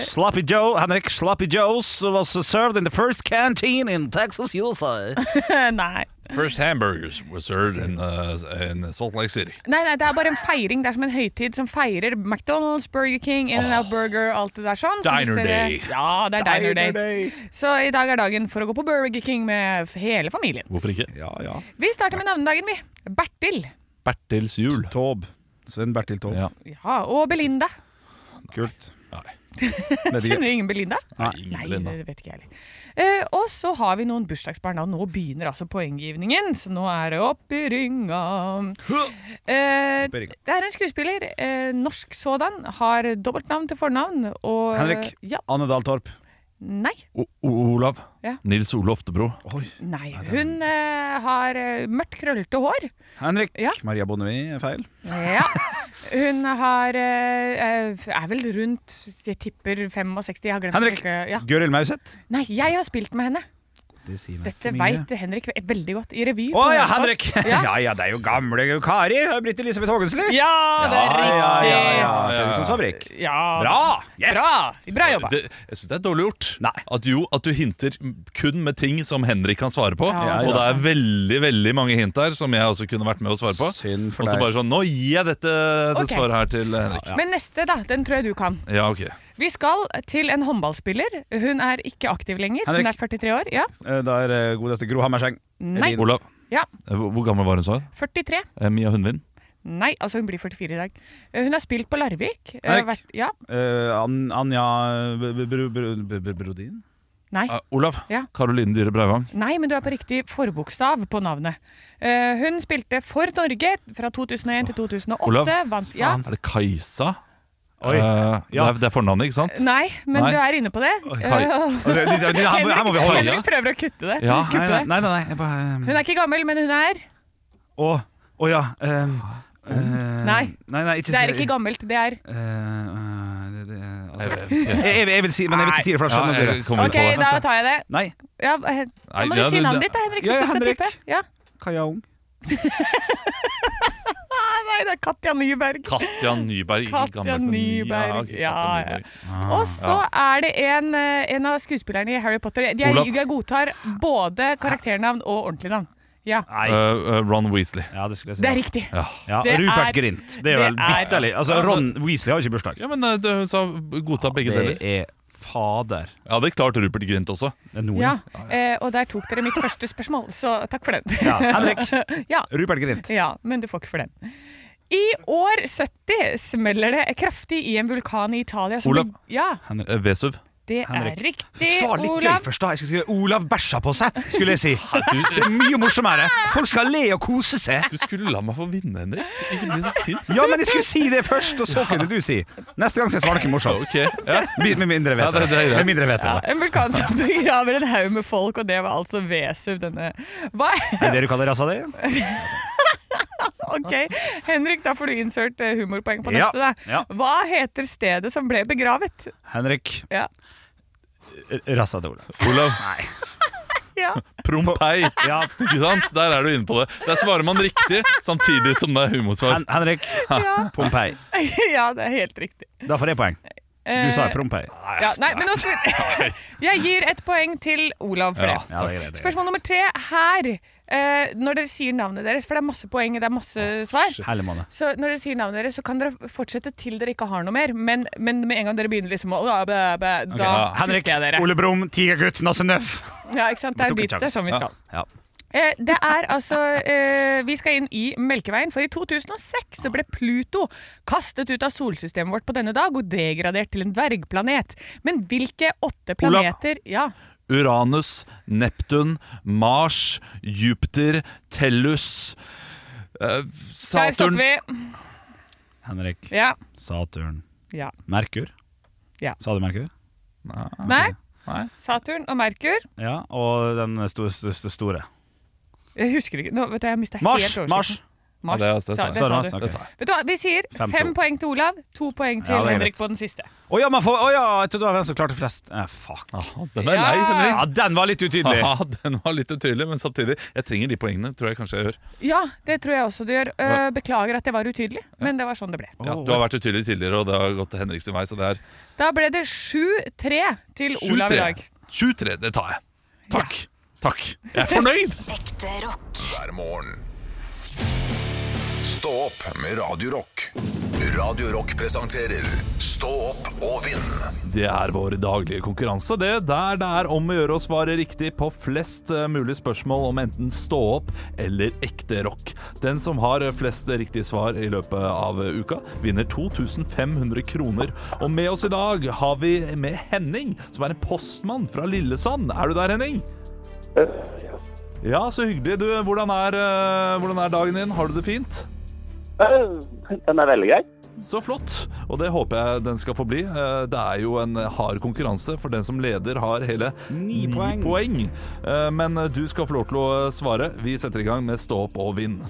G: sloppy Joe, Henrik Sloppy Joes was served in the first canteen in Texas, USA.
H: Eh, Nei.
F: First hamburgers were served in, uh, in Salt Lake City.
H: Nei, nei, det er bare en feiring. Det er som en høytid som feirer McDonald's, Burger King, In-N-Out Burger, alt det der sånn. Så hvis
F: Diner
H: dere-
F: Day.
H: Ja, det er Diner, Day. Så i dag er dagen for å gå på Burger King med f- hele familien.
F: Hvorfor ikke?
G: Ja, ja.
H: Vi starter med navnedagen, vi. Bertil.
F: Bertils jul.
G: Taube. Sven Bertil Taube.
F: Ja.
H: Ja, og Belinda.
G: Kult.
F: Nei.
H: Kjenner dere ingen Belinda?
F: Nei,
H: Nei,
F: Lena.
H: det vet ikke jeg heller. Eh, og så har vi noen bursdagsbarn, og nå begynner altså poenggivningen. Så nå er det opp i ringa. Eh,
G: i ringa.
H: det er en skuespiller, eh, norsk sådan, har dobbeltnavn til fornavn. Og,
G: Henrik.
H: Ja,
G: Anne Dahl Torp.
H: nei.
F: O o Olav.
H: Ja.
F: Nils Ole Oftebro.
H: Nei, hun eh, har eh, mørkt krøllete hår.
G: Henrik.
H: Ja.
G: Maria Bonnevie er feil.
H: Ja. Hun har eh, eh, Er vel rundt Jeg tipper 65. Jeg har glemt å
G: Henrik.
H: sjekke. Ja.
G: Gøril Mauseth.
H: Nei, jeg har spilt med henne.
G: Det sier meg
H: Dette
G: ikke mye.
H: veit Henrik ve- veldig godt. I revy. på
G: Å ja,
H: Hønefoss.
G: Henrik!
H: Ja.
G: Ja ja, det er jo gamle Kari. Britt Elisabeth Haagensli.
H: ja, det er riktig.
G: ja, ja. ja. Fødesens fabrikk.
H: Ja.
G: Bra! Yes!
H: Bra, Bra jobba.
F: Det, jeg syns det er dårlig gjort.
G: Nei.
F: At, jo, at du hinter kun med ting som Henrik kan svare på.
H: Ja,
F: og
G: ja.
F: det er veldig veldig mange hint her som jeg også kunne vært med å svare på.
G: Synd for
F: Og så
G: deg.
F: bare sånn Nå gir jeg dette, dette
H: Ok.
F: svaret her til Henrik.
H: Men neste, da. Den tror jeg du kan.
F: Ja, ok.
H: Vi skal til en håndballspiller. Hun er ikke aktiv lenger. Hun er
G: Henrik.
H: 43 år. Ja.
G: Eh, Da er det godeste Gro Hammerseng.
H: Nei.
G: Edin.
F: Olav,
H: ja.
F: eh, hvor hvor gammel var hun sånn?
H: 43.
F: Mia Hundvin?
H: Nei, altså hun blir 44 i dag. Eh, Hun har spilt på Larvik. Eh,
G: Henrik.
H: vært- Ja.
G: Eh, An Anja eh, B- B- Bro- Bro- B- B- Brodin?
H: Nei.
F: Eh, Olav?
H: Ja.
F: Karoline Dyhre Breivang?
H: Nei, men du er på riktig forbokstav på navnet. Eh, hun spilte for Norge fra 2001 til 2008.
F: Olav,
H: vant, ja.
F: Er det Kajsa?
G: Oi.
F: Eh,
G: Ja.
F: det, er, det er fornavnet, ikke sant?
H: Nei, men
F: Nei.
H: du er inne på det.
F: Kai.
H: Eh,
G: Her må vi
H: Henrik,
G: holde
H: Henrik
G: oss.
H: prøver å kutte det.
F: Ja,
H: kutte
G: Nei, nei, nei.
H: det.
G: nei, jeg
H: Hun
G: bare, eh,
H: er ikke gammel, men hun er
G: Å, å ja. eh, eh,
H: Nei.
G: nei, nei ikke,
H: Det er ikke gammelt, det er
G: Eh, eh, det, det, altså.
F: Jeg vet ikke.
G: jeg, jeg, jeg vil si, men jeg vil ikke si det, for da
F: Ja,
G: skjønner dere.
F: jeg kommer
H: Ok,
F: ikke på det.
H: da tar jeg det.
G: Nei,
H: Ja, eh, da
F: Nei,
H: må
F: ja,
H: du si
F: det- det-
H: navnet ditt, da, Henrik.
G: Ja,
H: hvis du skal
G: Henrik.
H: tippe. Ja.
G: Kaja Ung.
H: Nei, det er Katja Nyberg.
F: Katja Nyberg. ikke
H: Katja
F: gammel på ny- Ja,
H: Nyberg,
F: ok,
H: ja,
F: Katja
H: ja.
F: Nyberg.
H: Og så er det en, eh, en av skuespillerne i Harry Potter. De er,
F: Olav.
H: jeg godtar både karakternavn og ordentlig navn. Ja,
G: Nei.
F: Eh, eh, Ron Weasley.
G: Ja, det skulle jeg si.
H: det er riktig.
F: Ja.
G: Ja,
H: Det
G: Rupert
H: er-
G: Grint. Det er vel
H: det er-
G: vitterlig. Altså, Ron Weasley har jo ikke bursdag.
F: Ja, men eh, det- hun sa godta begge deler.
G: Det er fader.
F: Jeg hadde klart Rupert Grint også.
G: Det er noen.
H: Ja, eh, og der tok dere mitt første spørsmål, så takk for den.
G: Ja, Henrik.
H: Ja,
G: Rupert Grint.
H: ja men du får ikke for den. I år 70 smeller det kraftig i en vulkan i Italia som
F: Olav.
H: Ja,
F: Hen- eh, Vesuv.
H: det
G: Henrik.
H: er riktig,
G: Sa litt gøy
H: Olav.
G: først, da. Jeg skal skrive 'Olav bæsja på seg', skulle jeg si. Det er mye morsommere. Folk skal le og kose seg.
F: Du skulle la meg få vinne, Henrik. Ikke bli så sint.
G: Ja, men jeg skulle si det først, og så kunne du si. Neste gang skal jeg svare noe morsomt.
F: Ok, ja.
G: Med med mindre jeg
F: Ja,
G: vet
F: det-
G: det.
F: det er greit.
G: Med mindre jeg vet det.
H: En vulkan som begraver en haug med folk, og det var altså Vesuv, denne Hva
G: Er det det du kaller rassa di?
H: Ok, Henrik, da får du insert eh, humorpoeng på
G: Ja,
H: neste. Da.
G: ja.
H: Hva heter stedet som ble begravet?
G: Henrik.
H: Ja.
G: Rassa til Olav.
F: Olav.
H: ja.
F: Prompei. Ja. Ikke sant? Der er du inne på det. Der svarer man riktig, samtidig som det er humorsvar.
G: Hen Henrik. Pompeii.
H: ja, det er helt riktig.
G: Da får jeg poeng. Du sa
H: Eh,
G: Pompeii.
H: ja, Nei, men nå skal Jeg gir ett poeng til Olav for
F: Ja.
H: det.
G: Ja, det er greit, det er greit.
H: Spørsmål nummer tre her. eh, når dere sier navnet deres, for det er masse poeng, det er masse svar.
G: Herlig måned.
H: Så når dere sier navnet deres, så kan dere fortsette til dere ikke har noe mer. Men, men med en gang dere begynner liksom å Da, da, da
F: ja.
H: kutter jeg dere.
G: Ole Brumm, Tigergutt, Nasse Nøff.
H: Ja, ikke sant?
G: tok
H: Det er
G: en
H: dit det
G: sjanse.
H: som vi skal.
G: Ja.
H: Eh, Det er altså eh, Vi skal inn i Melkeveien, for i 2006 så ble Pluto kastet ut av solsystemet vårt på denne dag og degradert til en dvergplanet. Men hvilke åtte
F: Olav.
H: planeter Ja,
F: Uranus, Neptun, Mars, Jupiter, Tellus eh,
H: der
F: Saturn
H: stopper vi.
G: Henrik.
H: Ja.
G: Saturn.
H: ja.
G: Merkur.
H: Ja.
G: Sa du Merkur? Ah,
H: Nei.
F: Nei.
H: Saturn og Merkur.
G: Ja, og den sto- sto- sto- store.
H: Jeg husker ikke Nå, vet du, jeg mistet
G: Mars!
H: helt oversikten.
G: Mars!
F: Ja,
H: Mars.
F: det er- det
H: sa,
F: sa jeg.
H: det sa
G: Sa du
H: du.
G: Mars? Ok.
H: Vet du hva, Vi sier
G: Fem,
H: fem,
G: to.
H: poeng til Olav, to poeng til
G: Ja, det er
H: Henrik
G: greit.
H: på den siste.
G: Å ja, man får, å ja, jeg trodde det var hvem som klarte flest. Eh, fuck.
F: Ah, Den er lei, Henrik.
G: Ja, den var litt utydelig.
F: Ja, den var litt utydelig, men samtidig Jeg trenger de poengene, tror jeg kanskje jeg gjør.
H: Ja, det tror jeg også du gjør. Eh, Beklager at det var utydelig, men det var sånn det ble.
F: Ja, du har vært utydelig tidligere, og det har gått til Henrik sin vei, så det er
H: Da ble det 7-3 til Olav i dag.
F: 7-3, det tar jeg. Takk. Takk. Jeg er fornøyd!
E: hver morgen. Stå opp med Radio Rock. Radio Rock presenterer Stå opp og vinn.
F: Det er vår daglige konkurranse, det. Der det er om å gjøre å svare riktig på flest eh, mulig spørsmål om enten stå opp eller ekte rock. Den som har flest riktige svar i løpet av uka, vinner 2500 kroner. Og med oss i dag har vi med Henning, som er en postmann fra Lillesand. Er du der, Henning? Ja, så hyggelig. Du, hvordan er, eh, hvordan er dagen din? Har du det fint?
K: Eh, Den er veldig grei.
F: Så flott, og det håper jeg den skal få bli. Eh, Det er jo en hard konkurranse, for den som leder har hele ni poeng. Eh, Men du skal få lov til å eh, svare. Vi setter i gang med Stå opp og vinn.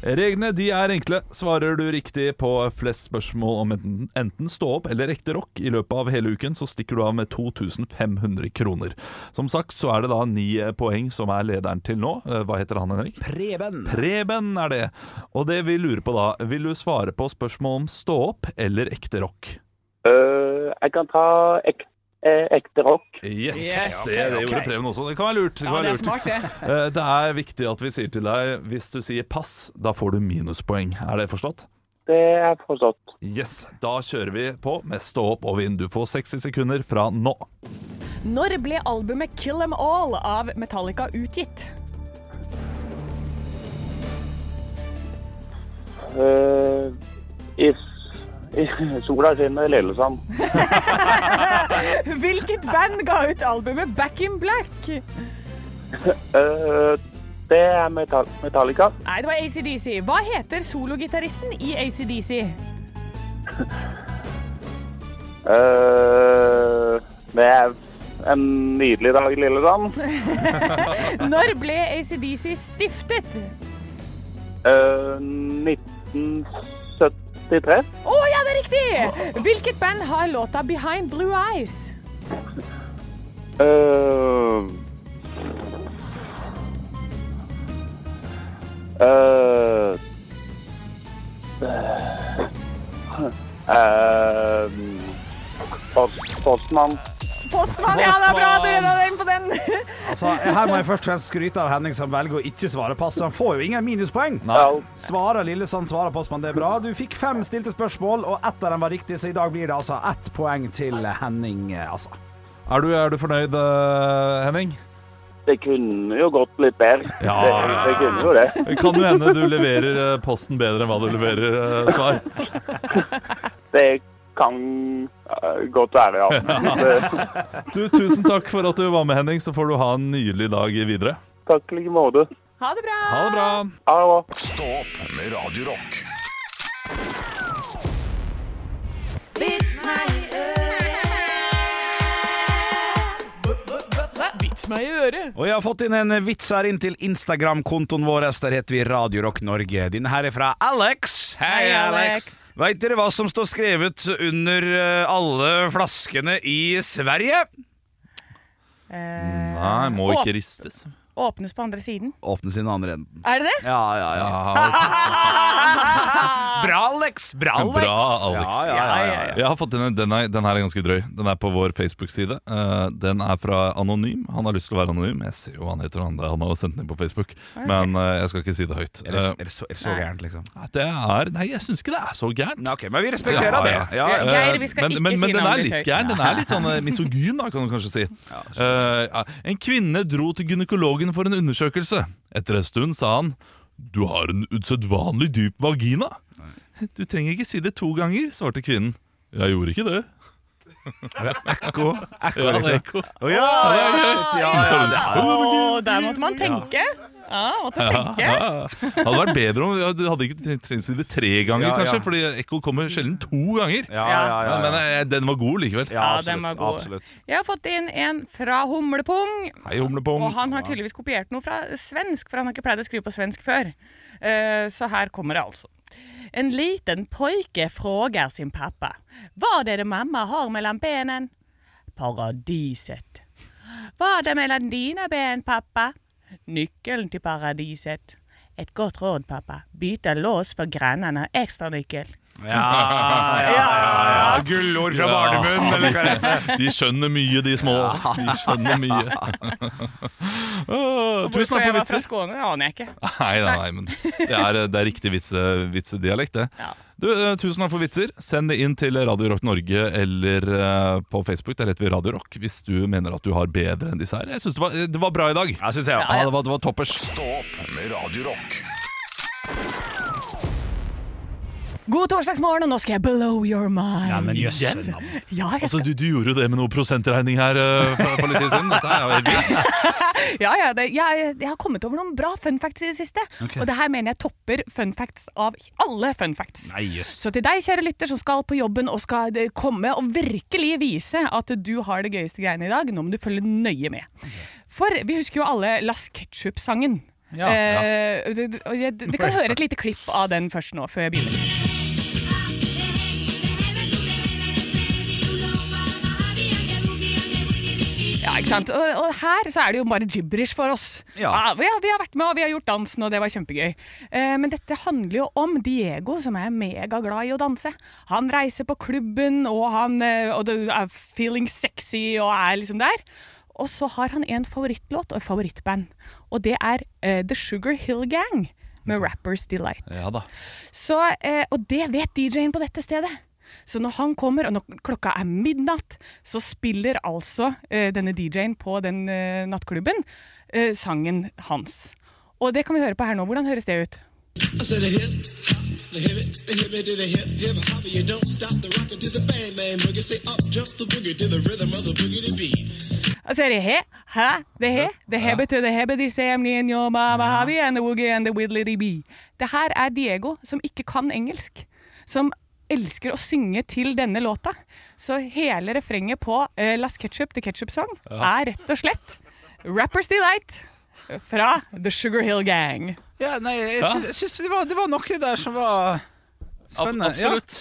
F: Reglene de er enkle. Svarer du riktig på flest spørsmål om enten, enten stå opp eller ekte rock i løpet av hele uken, så stikker du av med 2500 kroner. Som sagt så er det da ni eh, poeng som er lederen til nå. Eh, Hva heter han, Henrik?
G: Preben.
F: Preben er det. Og det vi lurer på da, vil du svare på spørsmål om stå opp eller ekte rock?
K: Øh, jeg kan ta ek, eh, ekte rock.
F: Yes, det, det gjorde Preben også. Det kan være lurt. Det, kan
H: Ja,
F: være
H: det er
F: lurt.
H: smart, det.
F: Eh, det er viktig at vi sier til deg hvis du sier pass, da får du minuspoeng. Er det forstått?
K: Det er forstått.
F: Yes. Da kjører vi på med stå opp og vinn. Du får 60 sekunder fra nå.
H: Når ble albumet 'Kill Em All' av Metallica utgitt?
K: Øh, i, i, sola skinner i Lillesand.
H: Hvilket band ga ut albumet 'Back in Black'?
K: Øh, det er metall, Metallica.
H: Nei, det var ACDC. Hva heter sologitaristen i ACDC?
K: Øh, det er en nydelig dag i Lillesand.
H: Når ble ACDC stiftet?
K: Øh, 1973.
H: Å ja, det er riktig! Hvilket band har låta 'Behind Blue Eyes'?
K: Øh, øh, ehm, øh, post, postmann.
H: Postmann, ja, det er bra at du redda deg inn på den.
G: Altså, her må jeg først og fremst skryte av Henning som velger å ikke svare pass. så Han får jo ingen minuspoeng.
K: Ja.
G: Svarer Lillesand, svarer Postmann, det er bra. Du fikk fem stilte spørsmål, og ett av dem var riktig, så i dag blir det altså ett poeng til Henning, eh, altså.
F: Er du, er du fornøyd, eh, Henning?
K: det kunne jo gått litt bedre.
F: Ja.
K: Det, det kunne jo det.
F: Kan jo hende du leverer eh, posten bedre enn hva du leverer eh, svar.
K: Det kan eh, godt være, ja. Det-
F: Du, Tusen takk for at du var med, Henning. Så får du ha en nydelig dag videre.
K: Takk i like måte.
H: Ha det bra!
F: Ha det bra.
K: Ha det bra.
E: Stå opp med Radio Rock.
J: Vits meg i øret. Vits meg i øret.
G: Og jeg har fått inn en vits her inn til Instagram-kontoen vår. Der heter vi Radio Rock Norge. Denne her er fra Alex.
J: Hei, Alex.
G: Veit dere hva som står skrevet under eh, alle flaskene i Sverige?
F: Nei, må
H: ikke
F: ristes.
H: Eh, Åpnes på andre siden.
G: Åpne sin andre enden.
H: Er det Ah, det?
G: Ja, ja, ja. Bra, Alex! Bra, Alex!
F: Bra, Alex.
G: Ja, ja, ja, ja, ja.
F: Jeg har fått denne, den, er, den her er ganske drøy. Den er på vår Facebook-side. Eh, den er fra Anonym. Han har lyst til å være anonym. Jeg ser jo hva han heter, han, han har jo sendt den inn på Facebook.
G: Ok.
F: Men eh, jeg skal ikke si det høyt.
G: Er det,
F: Eh,
G: er det så, er det så
F: Nei.
G: gærent, liksom?
F: Nei, Det er Nei, jeg syns ikke det er så gærent.
G: men vi respekterer det. Ja, ja.
F: Eh,
G: Geir, vi skal
F: men,
G: ikke
F: men,
G: si
F: men den
G: navnet
F: er
G: ditt høyt.
F: litt gæren. Den er litt sånn eh, misogyn, da, kan du kanskje si. Eh, ja. en kvinne dro til gynekologen for en undersøkelse. Etter en stund sa han Du har en usedvanlig dyp vagina. Du trenger ikke si det to ganger, svarte kvinnen. Jeg gjorde ikke det.
G: Ekko. Ekko,
F: Ja, det er
G: liksom.
F: ekko. altså.
G: Å, ja, ja,
F: Ja,
G: shit, ja, ja, ja.
H: Å, der måtte man tenke. Ja, måtte tenke.
F: Ja, ja. Det hadde vært bedre om ja, Du hadde ikke trengt trengt å si det tre ganger,
G: Ja, ja.
F: kanskje, fordi ekko kommer sjelden to ganger.
G: ja, ja, ja.
F: Men, men, eh, den var god likevel.
H: Ja, den var god. Jeg har fått inn en fra Humlepung.
F: Hei, humlepung.
H: Og han har tydeligvis kopiert noe fra svensk, for han har ikke pleid å skrive på svensk før. Eh, Så her kommer det altså. En liten pojke frågar sin pappa. Vad är det mamma har mellan benen? Paradiset. Vad är mellan dina ben, pappa? Nyckeln till paradiset. Ett gott råd, pappa. Byta lås för grannarna. Extra nyckel.
G: Ja, ja, ja, ja. Gullord fra barnemunn, eller hva det heter.
F: De skjønner mye, de små. De skjønner mye. Åh, Tusen
H: Hvorfor
F: takk
H: jeg
F: for
H: var fra
F: vitser.
H: Skåne, det aner jeg ikke.
F: Nei, nei, nei, men det er, det er riktig vitse, vitsedialekt, det. Du, eh, tusen takk for vitser. Send det inn til Radio Rock Norge eller eh, på Facebook. Der heter vi Radio Rock hvis du mener at du har bedre enn disse her. Jeg syns det, var- det var bra i dag.
G: Ja,
F: ja, det, var, det var toppers.
E: Stå opp med Radio Rock.
H: God torsdagsmorgen, og nå skal jeg blow your mind.
F: Nei, men jøsse navn.
H: Ja, jeg
F: Altså, du, du gjorde jo det med noe prosentregning her eh, for, for litt tid siden. Dette er jo helt vilt.
H: Ja, ja, det, jeg, jeg har kommet over noen bra fun facts i det siste.
F: Ok.
H: Og det her mener jeg topper fun facts av alle fun facts.
G: Nei, jøss.
H: Så til deg, kjære lytter, som skal på jobben og skal eh, komme og virkelig vise at du har det gøyeste greiene i dag, nå må du følge nøye med. For vi husker jo alle Las Ketchup-sangen.
J: Ja.
H: Eh, det- det- og jeg- Vi kan høre et lite klipp av den først nå, før jeg begynner. Ja, ikke sant? Og, og her så er det jo bare gibberish for oss. Ah,
J: Ja.
H: vi, har, vi har vært med og vi har gjort dansen, og det var kjempegøy. Eh, men dette handler jo om Diego, som er megaglad i å danse. Han reiser på klubben, og han eh, og det er feeling sexy og er liksom der. Og så har han en favorittlåt og et favorittband, og det er eh, The Sugar Hill Gang med Rappers Delight.
F: Ja da.
H: Så, eh, og det vet DJ-en på dette stedet. Så når han kommer, og når klokka er midnatt, så spiller altså eh, denne DJ-en på den eh, nattklubben eh, sangen hans. Og det kan vi høre på her nå. Hvordan høres det ut?
L: I said a hip hop, the hip it, the hip it, the hip hip hop. You don't stop the rocker to the bang bang boogie. Say up jump the boogie to the rhythm of the boogie to beat.
H: Altså er det he, hæ, det he, det hebe to the hebe, de ser me and your mama, have you and the woogie and the widdly bee. Det her er Diego, som ikke kan engelsk, som elsker å synge til denne låta. Så hele refrenget på eh, Las Ketchup, The Ketchup Song,
J: Ja.
H: er rett og slett Rappers Delight fra The Sugar Hill Gang.
G: Ja, nei, jeg syns, jeg syns det, var, det var noe der som var spennende. Ja.
F: absolutt.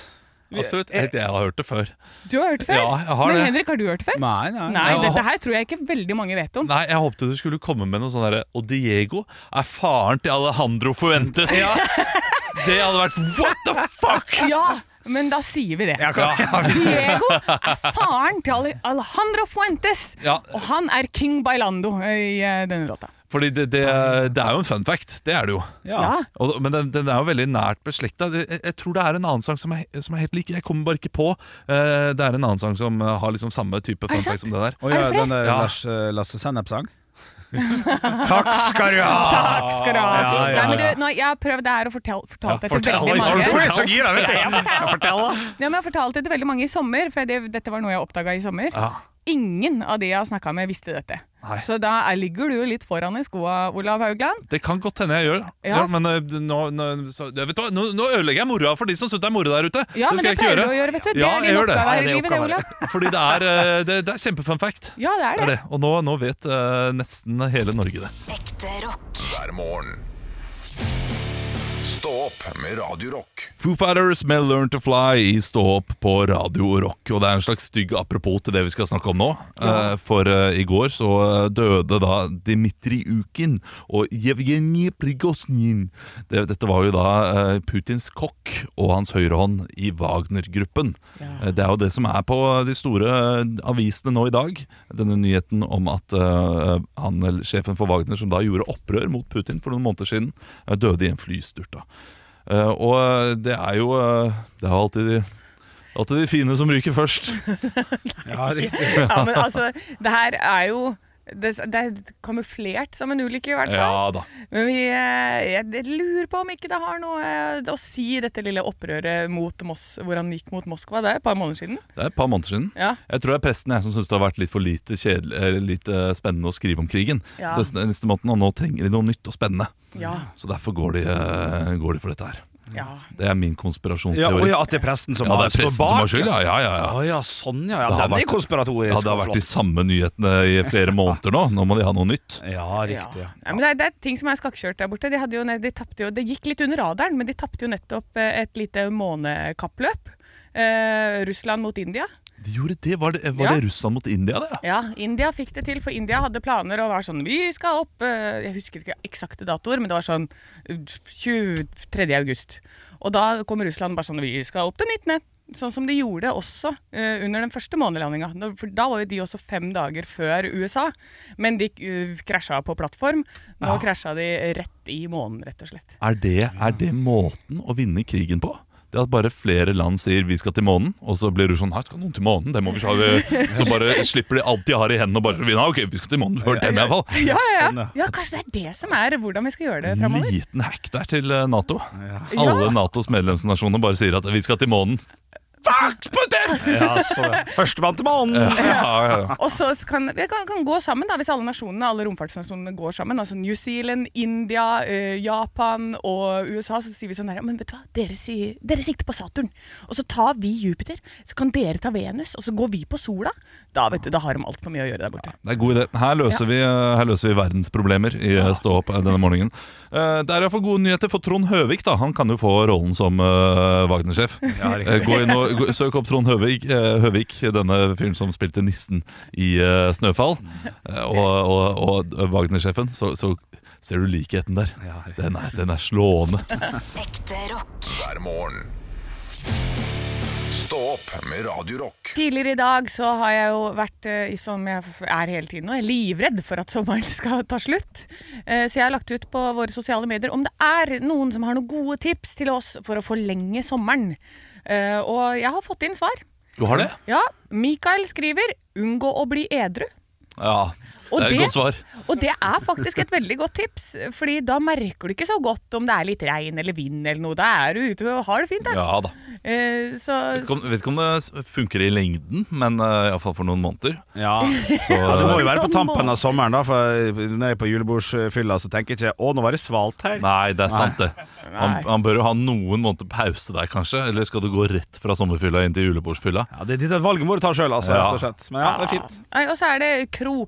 F: Absolutt. Jeg, jeg har hørt det før.
H: Du har hørt det før?
F: Ja, jeg har
H: Men
F: det.
H: Henrik, har du hørt det før?
F: Nei, nei.
H: Nei,
F: Jeg
H: dette
F: har-
H: her tror jeg ikke veldig mange vet om.
F: Nei, jeg håpte du skulle komme med noe sånn derre Og Diego er faren til Alejandro Fuentes. Det hadde vært What the fuck?!
H: Ja, men da sier vi det.
F: kan- ja, vi sier det.
H: Diego er faren til Ale- Alejandro Fuentes,
F: Ja.
H: og han er King Bailando i eh, denne låta.
F: Fordi det, det, det er jo en fun fact. Det er det jo.
H: Ja. Ja.
F: Og, men den, den er jo veldig nært beslekta. Jeg, jeg tror det er en annen sang som er, som er helt lik. Jeg kommer bare ikke på. Eh, det er en annen sang som eh, har liksom samme type
G: det
F: fun fact som det der.
G: Å ja, den der
F: Ja.
G: Lars, eh, Lasse Sennep-sang? Takk skal du ha!
H: Takk skal du ha.
G: Ja, ja,
H: Nei,
G: ja.
H: men du, nå, jeg har prøvd det her og fortell, fortalt det til
G: fortell,
H: veldig
G: har du
H: mange.
G: fortalt? Jeg er så gira, vet du.
H: Ja, jeg har fortalt.
G: Fortell, da.
H: Ja, men jeg har fortalt det til veldig mange i sommer, for det, dette var noe jeg oppdaga i sommer.
G: Ja.
H: Ingen av de jeg har snakka med, visste dette.
F: Nei.
H: Så da er- ligger du litt foran i skoa, Olav Haugland.
F: Det kan godt hende jeg gjør.
H: Ja.
F: Ja. men eh, nå, nå, så, ja, vet du, hva, nå, nå ødelegger jeg moroa for de som syns det er moro der ute.
H: Ja, men
F: skal
H: det
F: jeg ikke
H: pleier du å gjøre, vet du. Det
F: Ja,
H: er din
F: jeg gjør
H: oppgave her i
F: Ja,
H: livet, det,
F: oppgave
H: Olav.
F: her. Fordi det er, eh, det, det er kjempefun fact.
H: Ja, det er det.
F: Og nå, nå vet eh, nesten hele Norge det.
E: Ekte rock. Hver morgen. Stå opp med Radio Rock.
F: Foo Fighters med Learn to Fly i Stå opp på Radio Rock. Og det er en slags stygg apropos til det vi skal snakke om nå.
C: Ja.
F: Eh, For eh, i går så eh, døde da Dmitrij Ukin og Jevgenij Prigozjin. Det, dette var jo da eh, Putins kokk og hans høyrehånd i Wagner-gruppen. Eh, Det er jo det som er på de store eh, avisene nå i dag. Denne nyheten om at eh, han, eller sjefen for Wagner, som da gjorde opprør mot Putin for noen måneder siden, eh, døde i en flystyrt. da. Eh, og eh, det er jo eh, Det er alltid de, alltid de fine som ryker først.
G: ja,
H: Ja, men altså, det her er jo det, det er kamuflert som en ulykke, i hvert fall.
F: Ja da.
H: Men vi, eh, jeg, jeg lurer på om ikke det har noe eh, å si, dette lille opprøret mot Moss, hvor han gikk mot Moskva. Det er et par måneder siden.
F: Det er et par måneder siden.
H: Ja.
F: Jeg tror det er presten jeg som syns det har vært litt for lite, kjedelig, eller litt eh, spennende å skrive om krigen.
H: Ja.
F: Så den neste måneden, Og nå trenger de noe nytt og spennende.
H: Ja.
F: Så derfor går de, eh, går de for dette her.
H: Ja.
F: Det er min
G: Ja,
F: konspirasjonsteori.
G: og ja, at det er presten som
F: Ja,
G: har
F: det er
G: står
F: presten som
G: bak.
F: har skyld, ja, ja, ja, ja.
G: Å ja, sånn, ja. ja.
F: Det har
G: Den
F: vært-
G: er konspiratorisk.
F: Ja, det har vært de
G: Flott.
F: samme nyhetene i flere måneder nå. Nå må de ha noe nytt.
G: Ja, riktig. Ja.
H: Nei, men det, er, det er ting som er skakkjørt der borte. De hadde jo, ne- de tapte jo, det gikk litt under radaren, men de tapte jo nettopp eh, et lite månekappløp. Eh, Russland mot India.
F: De gjorde det, Var det, var
H: Ja.
F: det Russland mot India, det?
H: Ja, India fikk det til, for India hadde planer og var sånn Vi skal opp eh, Jeg husker ikke eksakte datoer, men det var sånn eh, 23. august. Og da kom Russland bare sånn Vi skal opp den 19. Sånn som de gjorde også eh, under den første månelandinga. Nå- For da var jo de også fem dager før USA, men de eh, krasja på plattform. Nå krasja de rett i månen, rett og slett.
F: Er det, er det måten å vinne krigen på? Det at bare flere land sier 'vi skal til månen', og så blir du sånn 'her skal noen til månen', det må vi ikke ha det». Så bare slipper de alt de har i hendene og bare vinner. 'Ok, vi skal til månen før dem, iallfall'.
H: Ja, ja, ja. ja, kanskje det er det som er hvordan vi skal gjøre det
F: En
H: framover.
F: liten hack der til eh, Nato. Alle Natos medlemsnasjoner bare sier at 'vi skal til månen'. Fuck Putin!
G: Ja, så det. Førstemann til månen!
F: Ja, ja, ja.
H: Og så kan vi kan, kan gå sammen, da, hvis alle nasjonene, alle romfartsnasjonene går sammen. Altså New Zealand, India, eh, Japan og USA. Så sier vi sånn her, «Ja, men vet du hva, dere, si, dere sikter på Saturn. Og så tar vi Jupiter, så kan dere ta Venus, og så går vi på sola. Da vet du, da har de altfor mye å gjøre der borte.
F: Det er god idé. Her løser, vi, eh, her løser vi verdensproblemer i eh, Stå opp eh, denne morgenen. Eh, Det er iallfall gode nyheter for Trond Høvik. da Han kan jo få rollen som eh, Wagner-sjef.
G: Ja, riktig.
F: Eh, gå inn og- gå- Søk opp Trond Høvik, eh, Høvik, denne fyren som spilte nissen i eh, 'Snøfall', eh, og, og, og Wagner-sjefen, så, så ser du likheten der. Den er, den er slående.
E: Ekte rock. Hver morgen. Stå opp med Radio Rock.
H: Tidligere i dag så har jeg jo vært eh, i- som jeg er hele tiden nå, jeg er livredd for at sommeren skal ta slutt. Eh, Så jeg har lagt ut på våre sosiale medier om det er noen som har noen gode tips til oss for å forlenge sommeren. Eh, Og jeg har fått inn svar.
F: Du har det?
H: Ja, Mikael skriver 'unngå å bli edru'.
F: Ja.
H: Og
F: Det er et
H: det-
F: godt svar.
H: Og det er faktisk et veldig godt tips, Fordi da merker du ikke så godt om det er litt regn eller vind eller noe. Da er du ute og har det fint, da.
F: Ja da.
H: Eh, Så,
F: Vet ikke om, vet ikke om det s- funker i lengden, men eh, iallfall for noen måneder.
G: Ja. Ja, det må jo være på tampen av sommeren, da. For når jeg er på julebordsfylla, så tenker jeg ikke Å, nå var det svalt her.
F: Nei, det er sant det.
G: Nei.
F: Han, han bør jo ha noen måneder pause der, kanskje. Eller skal du gå rett fra sommerfylla inn til julebordsfylla?
G: Ja, det er valget må du ta sjøl, altså.
F: Ja.
G: Rett og slett. Men ja, det er fint.
H: Nei, Og så er det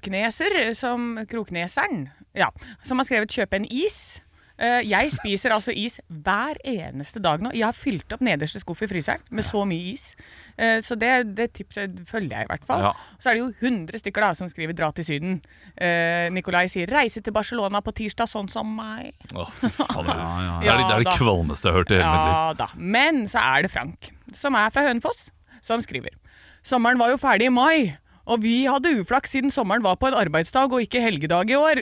H: Krokneser, som Krokneseren, ja, som har skrevet 'kjøpe en is'. Eh, Jeg spiser altså is hver eneste dag nå. Jeg har fylt opp nederste skuff i fryseren med så mye is. Eh, Så det, det tipset følger jeg i hvert fall.
F: Ja.
H: Og Så er det jo 100 stykker da som skriver 'dra til Syden'. Eh, Nikolai sier 'reise til Barcelona på tirsdag, sånn som meg'.
F: Å, fy faen. Det
H: ja.
F: er det, det, er
H: Ja, da.
F: det kvalmeste jeg har hørt i hele mitt liv.
H: Ja da. Men så er det Frank, som er fra Hønefoss, som skriver. Sommeren var jo ferdig i mai. Og vi hadde uflaks siden sommeren var på en arbeidsdag og ikke helgedag i år.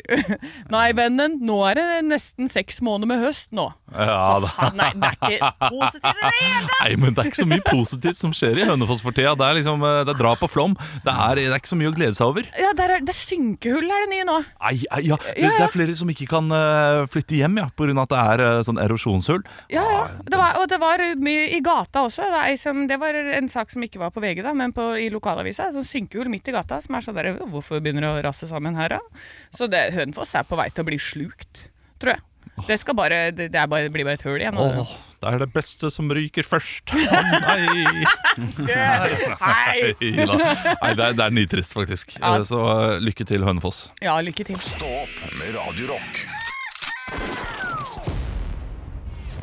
H: Nei, vennen, nå er det nesten seks måneder med høst nå.
F: Ja, da.
M: Nei, det er ikke positivt i det hele tatt!
F: Nei, men det er ikke så mye positivt som skjer i Hønefoss for tida. Det er liksom, eh, det er drap og flom. Det er, det er ikke så mye å glede seg over.
H: Ja, der er, det er synkehull er det nye nå.
F: Ei, ei, ja. Det,
H: Ja, ja.
F: det er flere som ikke kan eh, flytte hjem, ja, pga. at det er eh, sånn erosjonshull.
H: Ja, ja. Det var, og det var mye i gata også. Det, er ei som, det var en sak som ikke var på VG, da, men på, i lokalavisa. Sånn synkehull midt i gata som er sånn der Hvorfor begynner det å rase sammen her, da? Så det, Hønefoss er på vei til å bli slukt, tror jeg. Det, skal bare, det, det er bare, blir bare et hull igjen. og-
F: Åh, det er det beste som ryker først.
H: Nei.
F: Nei da. Nei, det er, det er nitrist, faktisk.
H: Ja.
F: Eh, Så eh, lykke til, Hønefoss.
H: Ja, lykke til.
E: Stå opp med Radio Rock.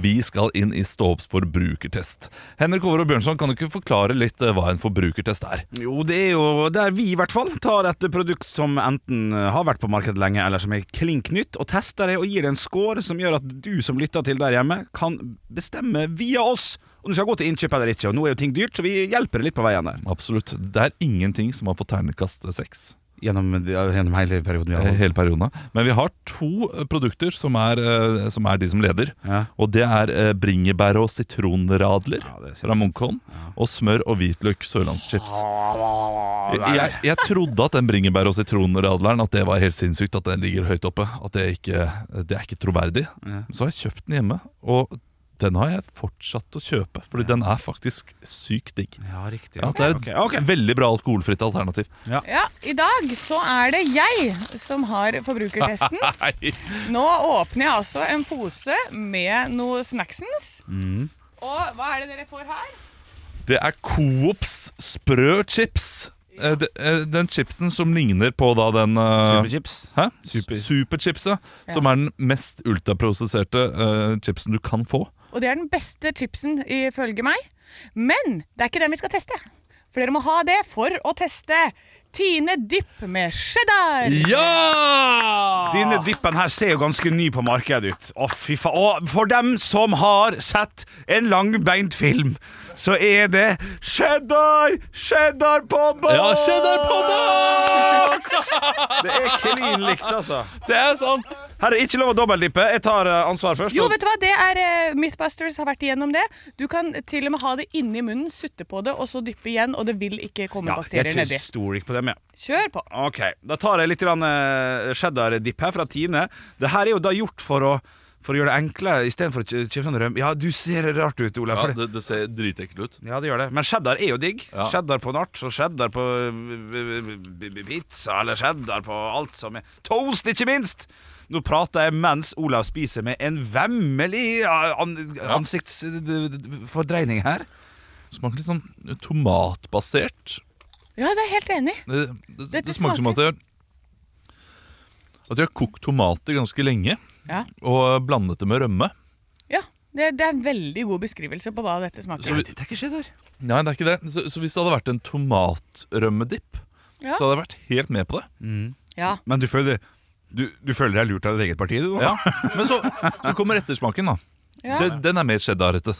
F: Vi skal inn i Ståhopps forbrukertest. Henrik Over og Bjørnson, kan du ikke forklare litt eh, hva en forbrukertest er?
G: Jo, det er jo der vi i hvert fall tar et produkt som enten eh, har vært på markedet lenge, eller som er klink nytt, og tester det og gir det en score som gjør at du som lytter til der hjemme, kan bestemme via oss om du skal gå til innkjøp eller ikke. Og nå er jo ting dyrt, så vi hjelper deg litt på veien der.
F: Absolutt. Det er ingenting som har fått ternekast seks. eh,
G: Gjennom, hele perioden vi har holdt.
F: Hele perioden, ja. Men vi har to eh, produkter som er, eh, som er de som leder. Og det er eh, bringebær og sitronradler fra Munkholm. Og smør og hvitløk sørlandschips.
G: Ah,
F: Jeg, jeg trodde at den bringebær- og sitronradleren At det var helt sinnssykt at den ligger høyt oppe. At det ikke det er ikke troverdig.
G: Ja.
F: Så har jeg kjøpt den hjemme, og den har jeg fortsatt å kjøpe. Fordi den er faktisk sykt digg.
G: Ja, riktig
F: Det er et
G: Ok,
F: veldig bra alkoholfritt alternativ.
H: Ja, I dag så er det jeg som har forbrukertesten.
F: Nei.
H: Nå åpner jeg altså en pose med noe snacksens.
F: Mm.
H: Og hva er det dere får her?
F: Det er Coops sprø chips. Eh, de- eh, Den chipsen som ligner på da den eh,
G: Superchips.
F: Hæ? Superchips, ja.
H: Ja.
F: Som er den mest ultraprosesserte eh, chipsen du kan få.
H: Og det er den beste chipsen ifølge meg. Men det er ikke den vi skal teste. For dere må ha det for å teste Tine Dipp med cheddar.
F: Ja!
G: Denne dippen her ser jo ganske ny på markedet ut. Å, fy faen. Og for dem som har sett en langbeint film, så er det cheddar! Cheddar på boks!
F: Ja, cheddar på
G: boks! Det er klin likt, altså.
F: Det er
C: sånn.
F: sant.
G: Her er ikke lov å dobbeltdippe. Jeg tar eh, ansvar først.
H: Jo,
G: og-
H: vet du hva? Det er eh, Mythbusters har vært igjennom det. Du kan til og med ha det inni munnen, sutte på det, og så dyppe igjen, og det vil ikke komme
G: ja, jeg
H: bakterier
G: er
H: nedi.
G: ikke stor på dem, ja.
H: Kjør på.
G: Ok, Da tar jeg litt grann, eh, cheddar-dipp her fra Tine. Det her er jo da gjort for å, for å gjøre det enklere istedenfor å kjø- kjøpe sånn rømme. Ja, du ser rart ut, Olav. for
F: Ja,
G: det-
F: det, det ser dritekkelt ut.
G: Ja, det gjør det. Men cheddar er jo digg.
F: Ja.
G: Cheddar på nart, og cheddar på eh, b- b- pizza, eller cheddar på alt som er Toast, ikke minst! Nå prater jeg mens Olav spiser med en vemmelig eh, an eh, ansiktsfordreining her.
F: Smaker litt sånn tomatbasert.
H: Ja, det er jeg helt enig. i.
F: Det, det, det,
H: Dette
F: smaker som at de har At de har kokt tomater ganske lenge
H: Ja.
F: og blandet det med rømme.
H: Ja, det, det er en veldig god beskrivelse på hva dette smaker.
F: Så vi-
G: Det er ikke cheddar.
F: Nei, det er ikke det. Så, så hvis det hadde vært en tomatrømmedipp,
H: Ja.
F: så hadde jeg vært helt med på det.
H: Ja.
G: Men du føler, du, du føler deg lurt av ditt eget parti, du nå?
F: Ja. Men så, så kommer ettersmaken, da.
H: Ja.
F: Den, den er mer cheddarete.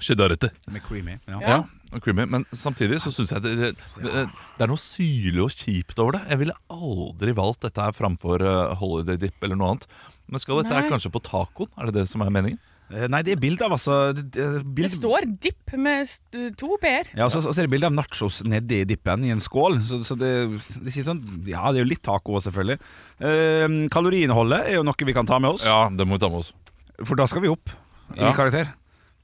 F: Cheddarete.
G: Med creamy. Ja.
F: Ja. og creamy. Men samtidig så syns jeg det, det, det, det er noe syrlig og kjipt over det. Jeg ville aldri valgt dette her framfor eh, holiday dip eller noe annet. Men skal dette
H: Nei.
F: her kanskje på tacoen? Er det det som er meningen?
G: Eh, Nei, det er bilde av, altså. Det, det, er
H: Det
G: bild-
H: står dipp med st- to p-er.
G: Ja, og så, og så er det bilde av nachos nedi dippen i en skål. Så, så det, det sier sånn Ja, det er jo litt taco også, selvfølgelig. Eh, kaloriinnholdet er jo noe vi kan ta med oss.
F: Ja, det må vi ta med oss.
G: For da skal vi opp i
F: Ja.
G: karakter.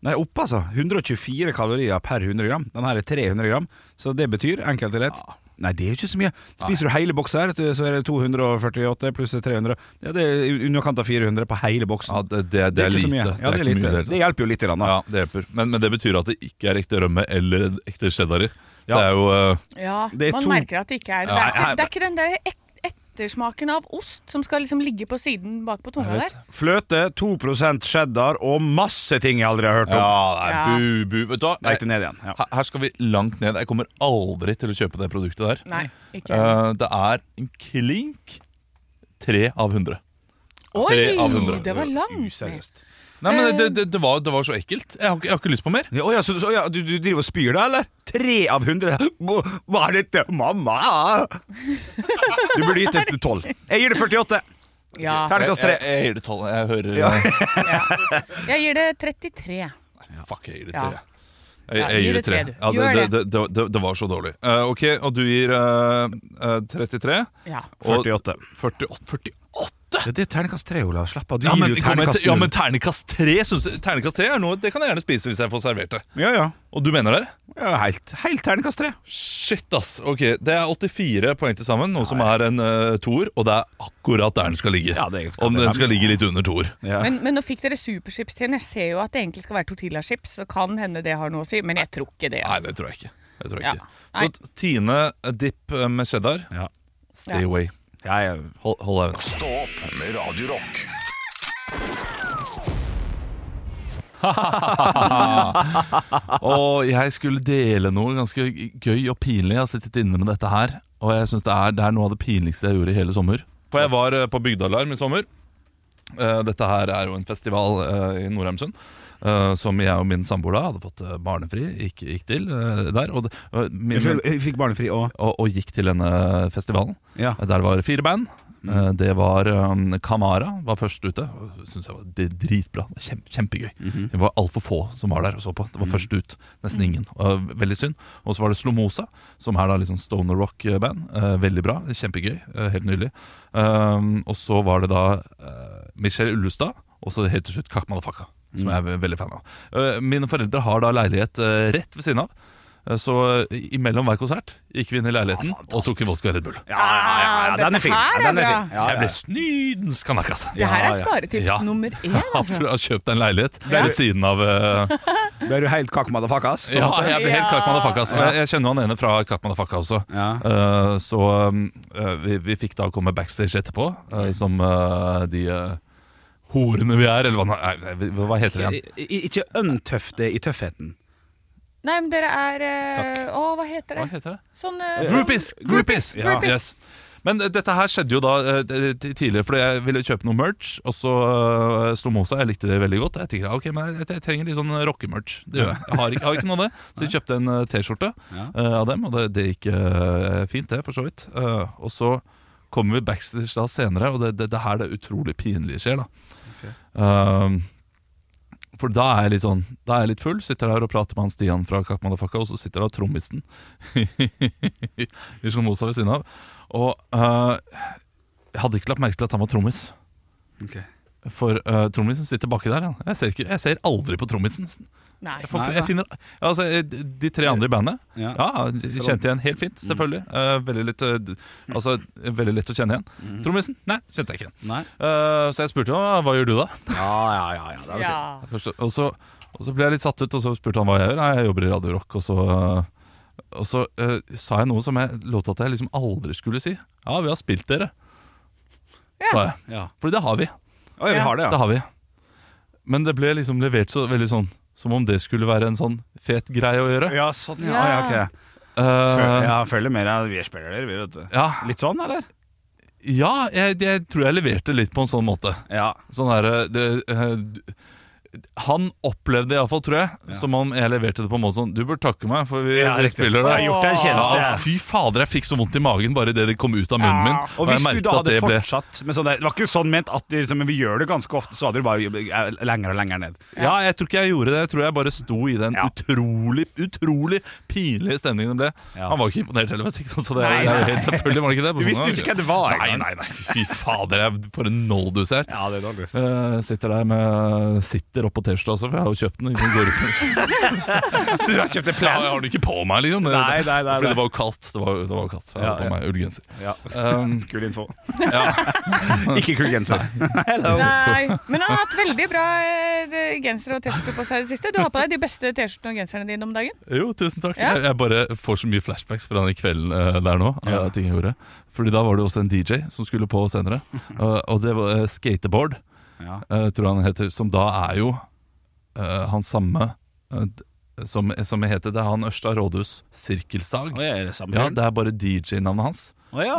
G: Nei, opp altså. 124 kalorier per 100 gram. Den her er 300 gram, så det betyr enkelt og lett Nei, det er jo ikke så mye. Spiser du hele boksen her, så er det 248 pluss 300. Ja, det er i underkant av 400 på hele boksen.
F: Ja, det, det, det er
G: ikke så
F: lite.
G: mye. Ja, det er
F: ikke mye
G: lite.
F: i hele tatt.
G: Det hjelper jo litt. Grann, da.
F: Ja, det hjelper. Men, men det betyr at det ikke er ekte rømme eller ekte cheddar i. Det er jo eh,
H: Ja,
F: Det er
H: man
F: to-
H: merker at det ikke er det. Det
F: Ja,
H: er ikke,
F: jeg-
H: det er ikke den der ek ettersmaken av ost som skal liksom ligge på siden bak på tunga der.
G: Fløte, 2 cheddar og masse ting jeg aldri har hørt om.
F: Ja,
H: Ja.
F: nei, bu, bu. Vet du hva?
G: Nei, ikke ned igjen, ja.
F: Her- Her skal vi langt ned. Jeg kommer aldri til å kjøpe det produktet der.
H: Nei, ikke
F: Eh, det er en klink tre av hundre. Tre altså, av
H: Oi,
F: hundre.
H: det var langt.
F: Nei, men
H: Eh.
F: det, det, det, var, det var så ekkelt. Jeg har, ikke- jeg har ikke lyst på mer.
G: Ja, åja, så, så, åja, du, du driver og spyr deg, eller? Tre av hundre? Hva er dette? Mamma! Du burde gitt et tolv. Jeg gir det 48.
H: Ja.
F: Terningkast tre. Jeg, jeg, jeg gir det tolv. Jeg hører eh,
H: Jeg gir det 33.
F: Fuck, jeg gir det
H: Ja.
F: tre. Jeg,
H: Ja,
F: jeg
H: gi
F: gir det
H: det
F: tre.
H: tre, du.
F: Ja, det,
H: Gjør
F: det, det, det, det var så dårlig. Eh, ok, og du gir eh, eh, 33.
H: Ja.
F: Og
G: 48.
F: 48. 48.
G: Det, det er terningkast tre, Olav. Slapp av. Du
F: Ja,
G: gir
F: men,
G: jo
F: kom igjen,
G: terningkast
F: ja, men
G: null.
F: terningkast 3 synes, Terningkast 3 er noe Det kan jeg gjerne spise hvis jeg får servert det.
G: Ja, ja.
F: Og du mener det?
G: Ja, helt, helt terningkast 3.
F: Shit, ass. Ok, Det er 84 poeng til sammen, noe som er en uh, toer. Og det er akkurat der den skal ligge. Om den skal ligge litt under toer.
H: Men, men nå fikk dere superchips til. Jeg ser jo at det egentlig skal være tortillachips. Så kan hende det har noe å si, men jeg tror ikke det.
F: Nei,
H: Altså.
F: det tror jeg ikke. Det tror jeg
H: Ja.
F: ikke. Så t- Tine eh, dipp eh, med cheddar. Stay
H: Ja.
F: away. Hold, hold deg unna.
E: Stå opp med Radio Rock.
F: og jeg skulle dele noe ganske gøy og pinlig. Jeg har sittet inne med dette her. Og jeg synes det, er, det er noe av det pinligste jeg gjorde i hele sommer. For jeg var eh, på Bygdealarm i sommer. Eh, Dette her er jo en festival eh, i Nordheimsund. eh, som jeg og min samboer da hadde fått eh, barnefri, gikk, gikk til eh, der. Og, det- og min,
G: Unnskyld, jeg fikk barnefri og?
F: og Og gikk til denne festivalen. Der det var fire band. Eh, Det var um, Kamara var først ute. Syns jeg var d- dritbra. Kjempe, kjempegøy. Det var altfor få som var der og så på. Det var først ut. Nesten ingen. Og, veldig synd. Og så var det Slomosa, som er da liksom stoner rock-band. Eh, veldig bra. Kjempegøy. Eh, helt nydelig. Um, og så var det da eh, Michelle Ullestad, og så helt til slutt Kakk Madafaka, som
N: Mm.
F: jeg er ve- veldig fan av. Eh, mine foreldre har da leilighet eh, rett ved siden av. Eh, Så i- imellom hver konsert gikk vi inn i leiligheten og tok en vodka Red Bull.
H: ja, ja, den er fin. dette her Ja, den er er fin. bra. Ja,
F: Jeg
H: ja.
F: ble snydens kanakas.
H: Det her er sparetips nummer én. Altså.
F: Absolutt. Kjøp deg en leilighet
H: Ja.
F: ved siden av eh,
G: Ble du helt kakk motherfuckers?
F: Ja, jeg ble helt kakk motherfucka. Altså.
G: Ja.
F: Jeg, jeg kjenner han ene fra Kakk motherfucka også. Eh, så um, eh, vi, vi fikk da komme backstage etterpå, eh, som eh, de eh, horene vi er, eller hva, nei, hva- hva heter det igjen?
G: I- i- Ikke untøff det i tøffheten.
H: Nei, men dere er eh, Å, hva heter det?
F: Hva heter det?
H: Sånn eh, sånn-
F: Groupies! Groupies!
H: Ja. Groupies.
F: Yes. Men eh, dette her skjedde jo da eh, t- t- tidligere, fordi jeg ville kjøpe noe merch. Og så uh, Slomosa, jeg likte det veldig godt. Jeg tenkte, ok, men jeg, jeg trenger litt sånn rockemerch. Det gjør jeg. Jeg har ikke, jeg har ikke noe av det. Så jeg kjøpte en eh, T-skjorte
G: Ja.
F: eh, av dem, og det, det gikk eh, fint, det, for så vidt. Eh, og så kommer vi backstage da senere, og det, det, det her det utrolig pinlige skjer, da. Um, for da er jeg litt sånn Da er jeg litt full, sitter der og prater med han Stian fra Kakk Madafakka, og så sitter da trommisen i Slomosa ved siden av. Og eh, jeg hadde ikke lagt merke til at han var trommis.
G: Ok.
F: For eh, trommisen sitter baki der. Han. Jeg, ser ikke, jeg ser aldri på trommisen. nesten.
H: Nei.
F: Jeg, får, ikke- jeg finner ja, altså, eh, De tre andre i bandet
G: Ja.
F: ja. kjente igjen helt fint, selvfølgelig. Eh, veldig, litt, eh, d- altså, veldig lett å kjenne igjen.
G: Mm.
F: Trommisen? Nei, kjente jeg ikke igjen.
G: Nei.
F: Eh, så jeg spurte hva, hva gjør du da?
G: Ja, ja, ja,
H: det er Ja.
F: Jeg forstår- Og, så, og så ble jeg litt satt ut, og så spurte han hva jeg gjør. Nei, jeg jobber i Radio Rock. Og så, og så eh, sa jeg noe som jeg lovte at jeg liksom aldri skulle si. Ja, vi har spilt dere, sa jeg.
G: Ja.
F: Fordi det har vi.
G: ja, vi har det, ja.
F: det har vi. Men det ble liksom levert så veldig sånn som om det skulle være en sånn fet greie å gjøre. Eh,
G: Ja, sånn, ja, ja, ok. Føl- ja, følger mer av vi spiller dere, vi, vet du. Litt sånn, eller?
F: Ja, jeg, jeg tror jeg leverte litt på en sånn måte. Sånn her, eh, det, eh, du- han opplevde det iallfall, tror jeg, som om jeg leverte det på en måte sånn Du bør takke meg, for vi,
G: Ja,
F: vi
G: riktig.
F: spiller det.
G: Jeg har gjort deg en tjeneste,
F: Ja,
G: jeg.
F: fy fader, jeg fikk så vondt i magen bare idet det kom ut av munnen min.
G: Og hvis
F: jeg
G: du
F: merket
G: da
F: at
G: hadde
F: det ble-
G: fortsatt med sånn der- Det var ikke sånn ment at det liksom, men vi gjør det ganske ofte, så hadde du bare eh, lenger og lenger ned.
F: Ja, jeg tror ikke jeg gjorde det. Jeg tror jeg bare sto i den utrolig utrolig pinlige stemningen det ble. Han var ikke imponert heller, vet du. ikke sant? Så det,
G: Nei.
F: det er jo helt selvfølgelig var det ikke det. sånn,
G: Du visste jo ikke hvem det var,
F: Nei, nei, nei, fy fader, jeg, for en noldus jeg er.
G: Ja, det er noldus.
F: Eh, sitter der med Sitter oppå T-skjorta også, for jeg har jo kjøpt den. Liksom, går ut.
G: Så du har kjøpt en plan?
F: Ja, jeg har den ikke på meg, liksom. Det-
G: Nei, nei, nei,
F: Fordi
G: nei.
F: det var jo kaldt. Det var, det var jo kaldt. Jeg hadde
G: Ja,
F: på
G: ja.
F: meg ullgenser.
G: Ja.
F: Um,
G: Kul info.
F: Ja.
G: Ikke kul genser. Hello.
H: Nei, men han har hatt veldig bra eh, genser og T-skjorter på seg i det siste. Du har på deg de beste T-skjortene og genserne dine om dagen.
F: Eh, Jo, tusen takk.
H: Ja.
F: Jeg, jeg bare får så mye flashbacks fra den kvelden eh, der nå. av ting jeg gjorde Fordi da var det jo også en DJ som skulle på senere, og- og det var eh, Skateboard,
G: Ja.
F: eh, tror jeg han heter, som da er jo eh, han samme eh, d- som, som jeg heter. Det er han Ørsta Rådhus Sirkelsag.
G: Å, er det samme
F: ja,
G: fyren?
F: det er bare DJ-navnet hans.
G: Å ja.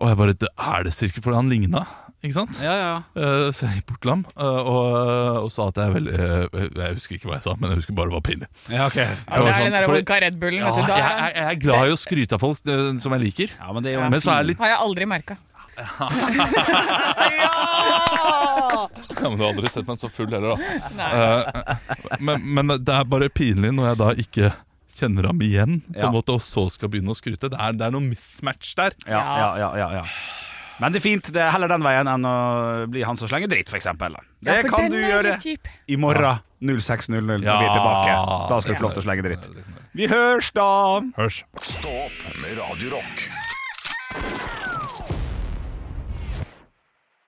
F: Og jeg bare, det er det sirkel, fordi han ligna, ikke sant?
G: Ja, ja.
F: Eh, så jeg gikk bort til ham eh, og, og sa at jeg er veldig eh, Jeg husker ikke hva jeg sa, men jeg husker bare det var pinlig.
G: Ja, ok.
F: Jeg
G: Ja, det
F: var
G: er den der
F: fordi-
H: vodka Red Bullen,
F: ja,
H: vet du, da-
F: jeg, jeg, jeg er glad i å skryte av folk eh, som jeg liker,
G: men,
F: så er jeg litt
H: Har jeg aldri merka.
F: Ja, men Du har aldri sett meg så full heller, da.
O: Nei.
F: Eh, men, men det er bare pinlig når jeg da ikke kjenner ham igjen, på
G: Ja.
F: en måte, og så skal begynne å skryte. Det er, det er noe mismatch der.
G: Ja, ja, ja, ja, ja. Men det er fint. Det er heller den veien enn å bli han som slenger dritt, f.eks. Det
H: Ja, for
G: kan
H: den
G: du
H: er
G: gjøre
H: litt kjip.
G: i morgen 06.00 når vi er
F: Ja.
G: tilbake. Da skal du få lov til å slenge dritt. Vi hørs, da!
F: Hørs.
P: Stå opp med Radio Rock.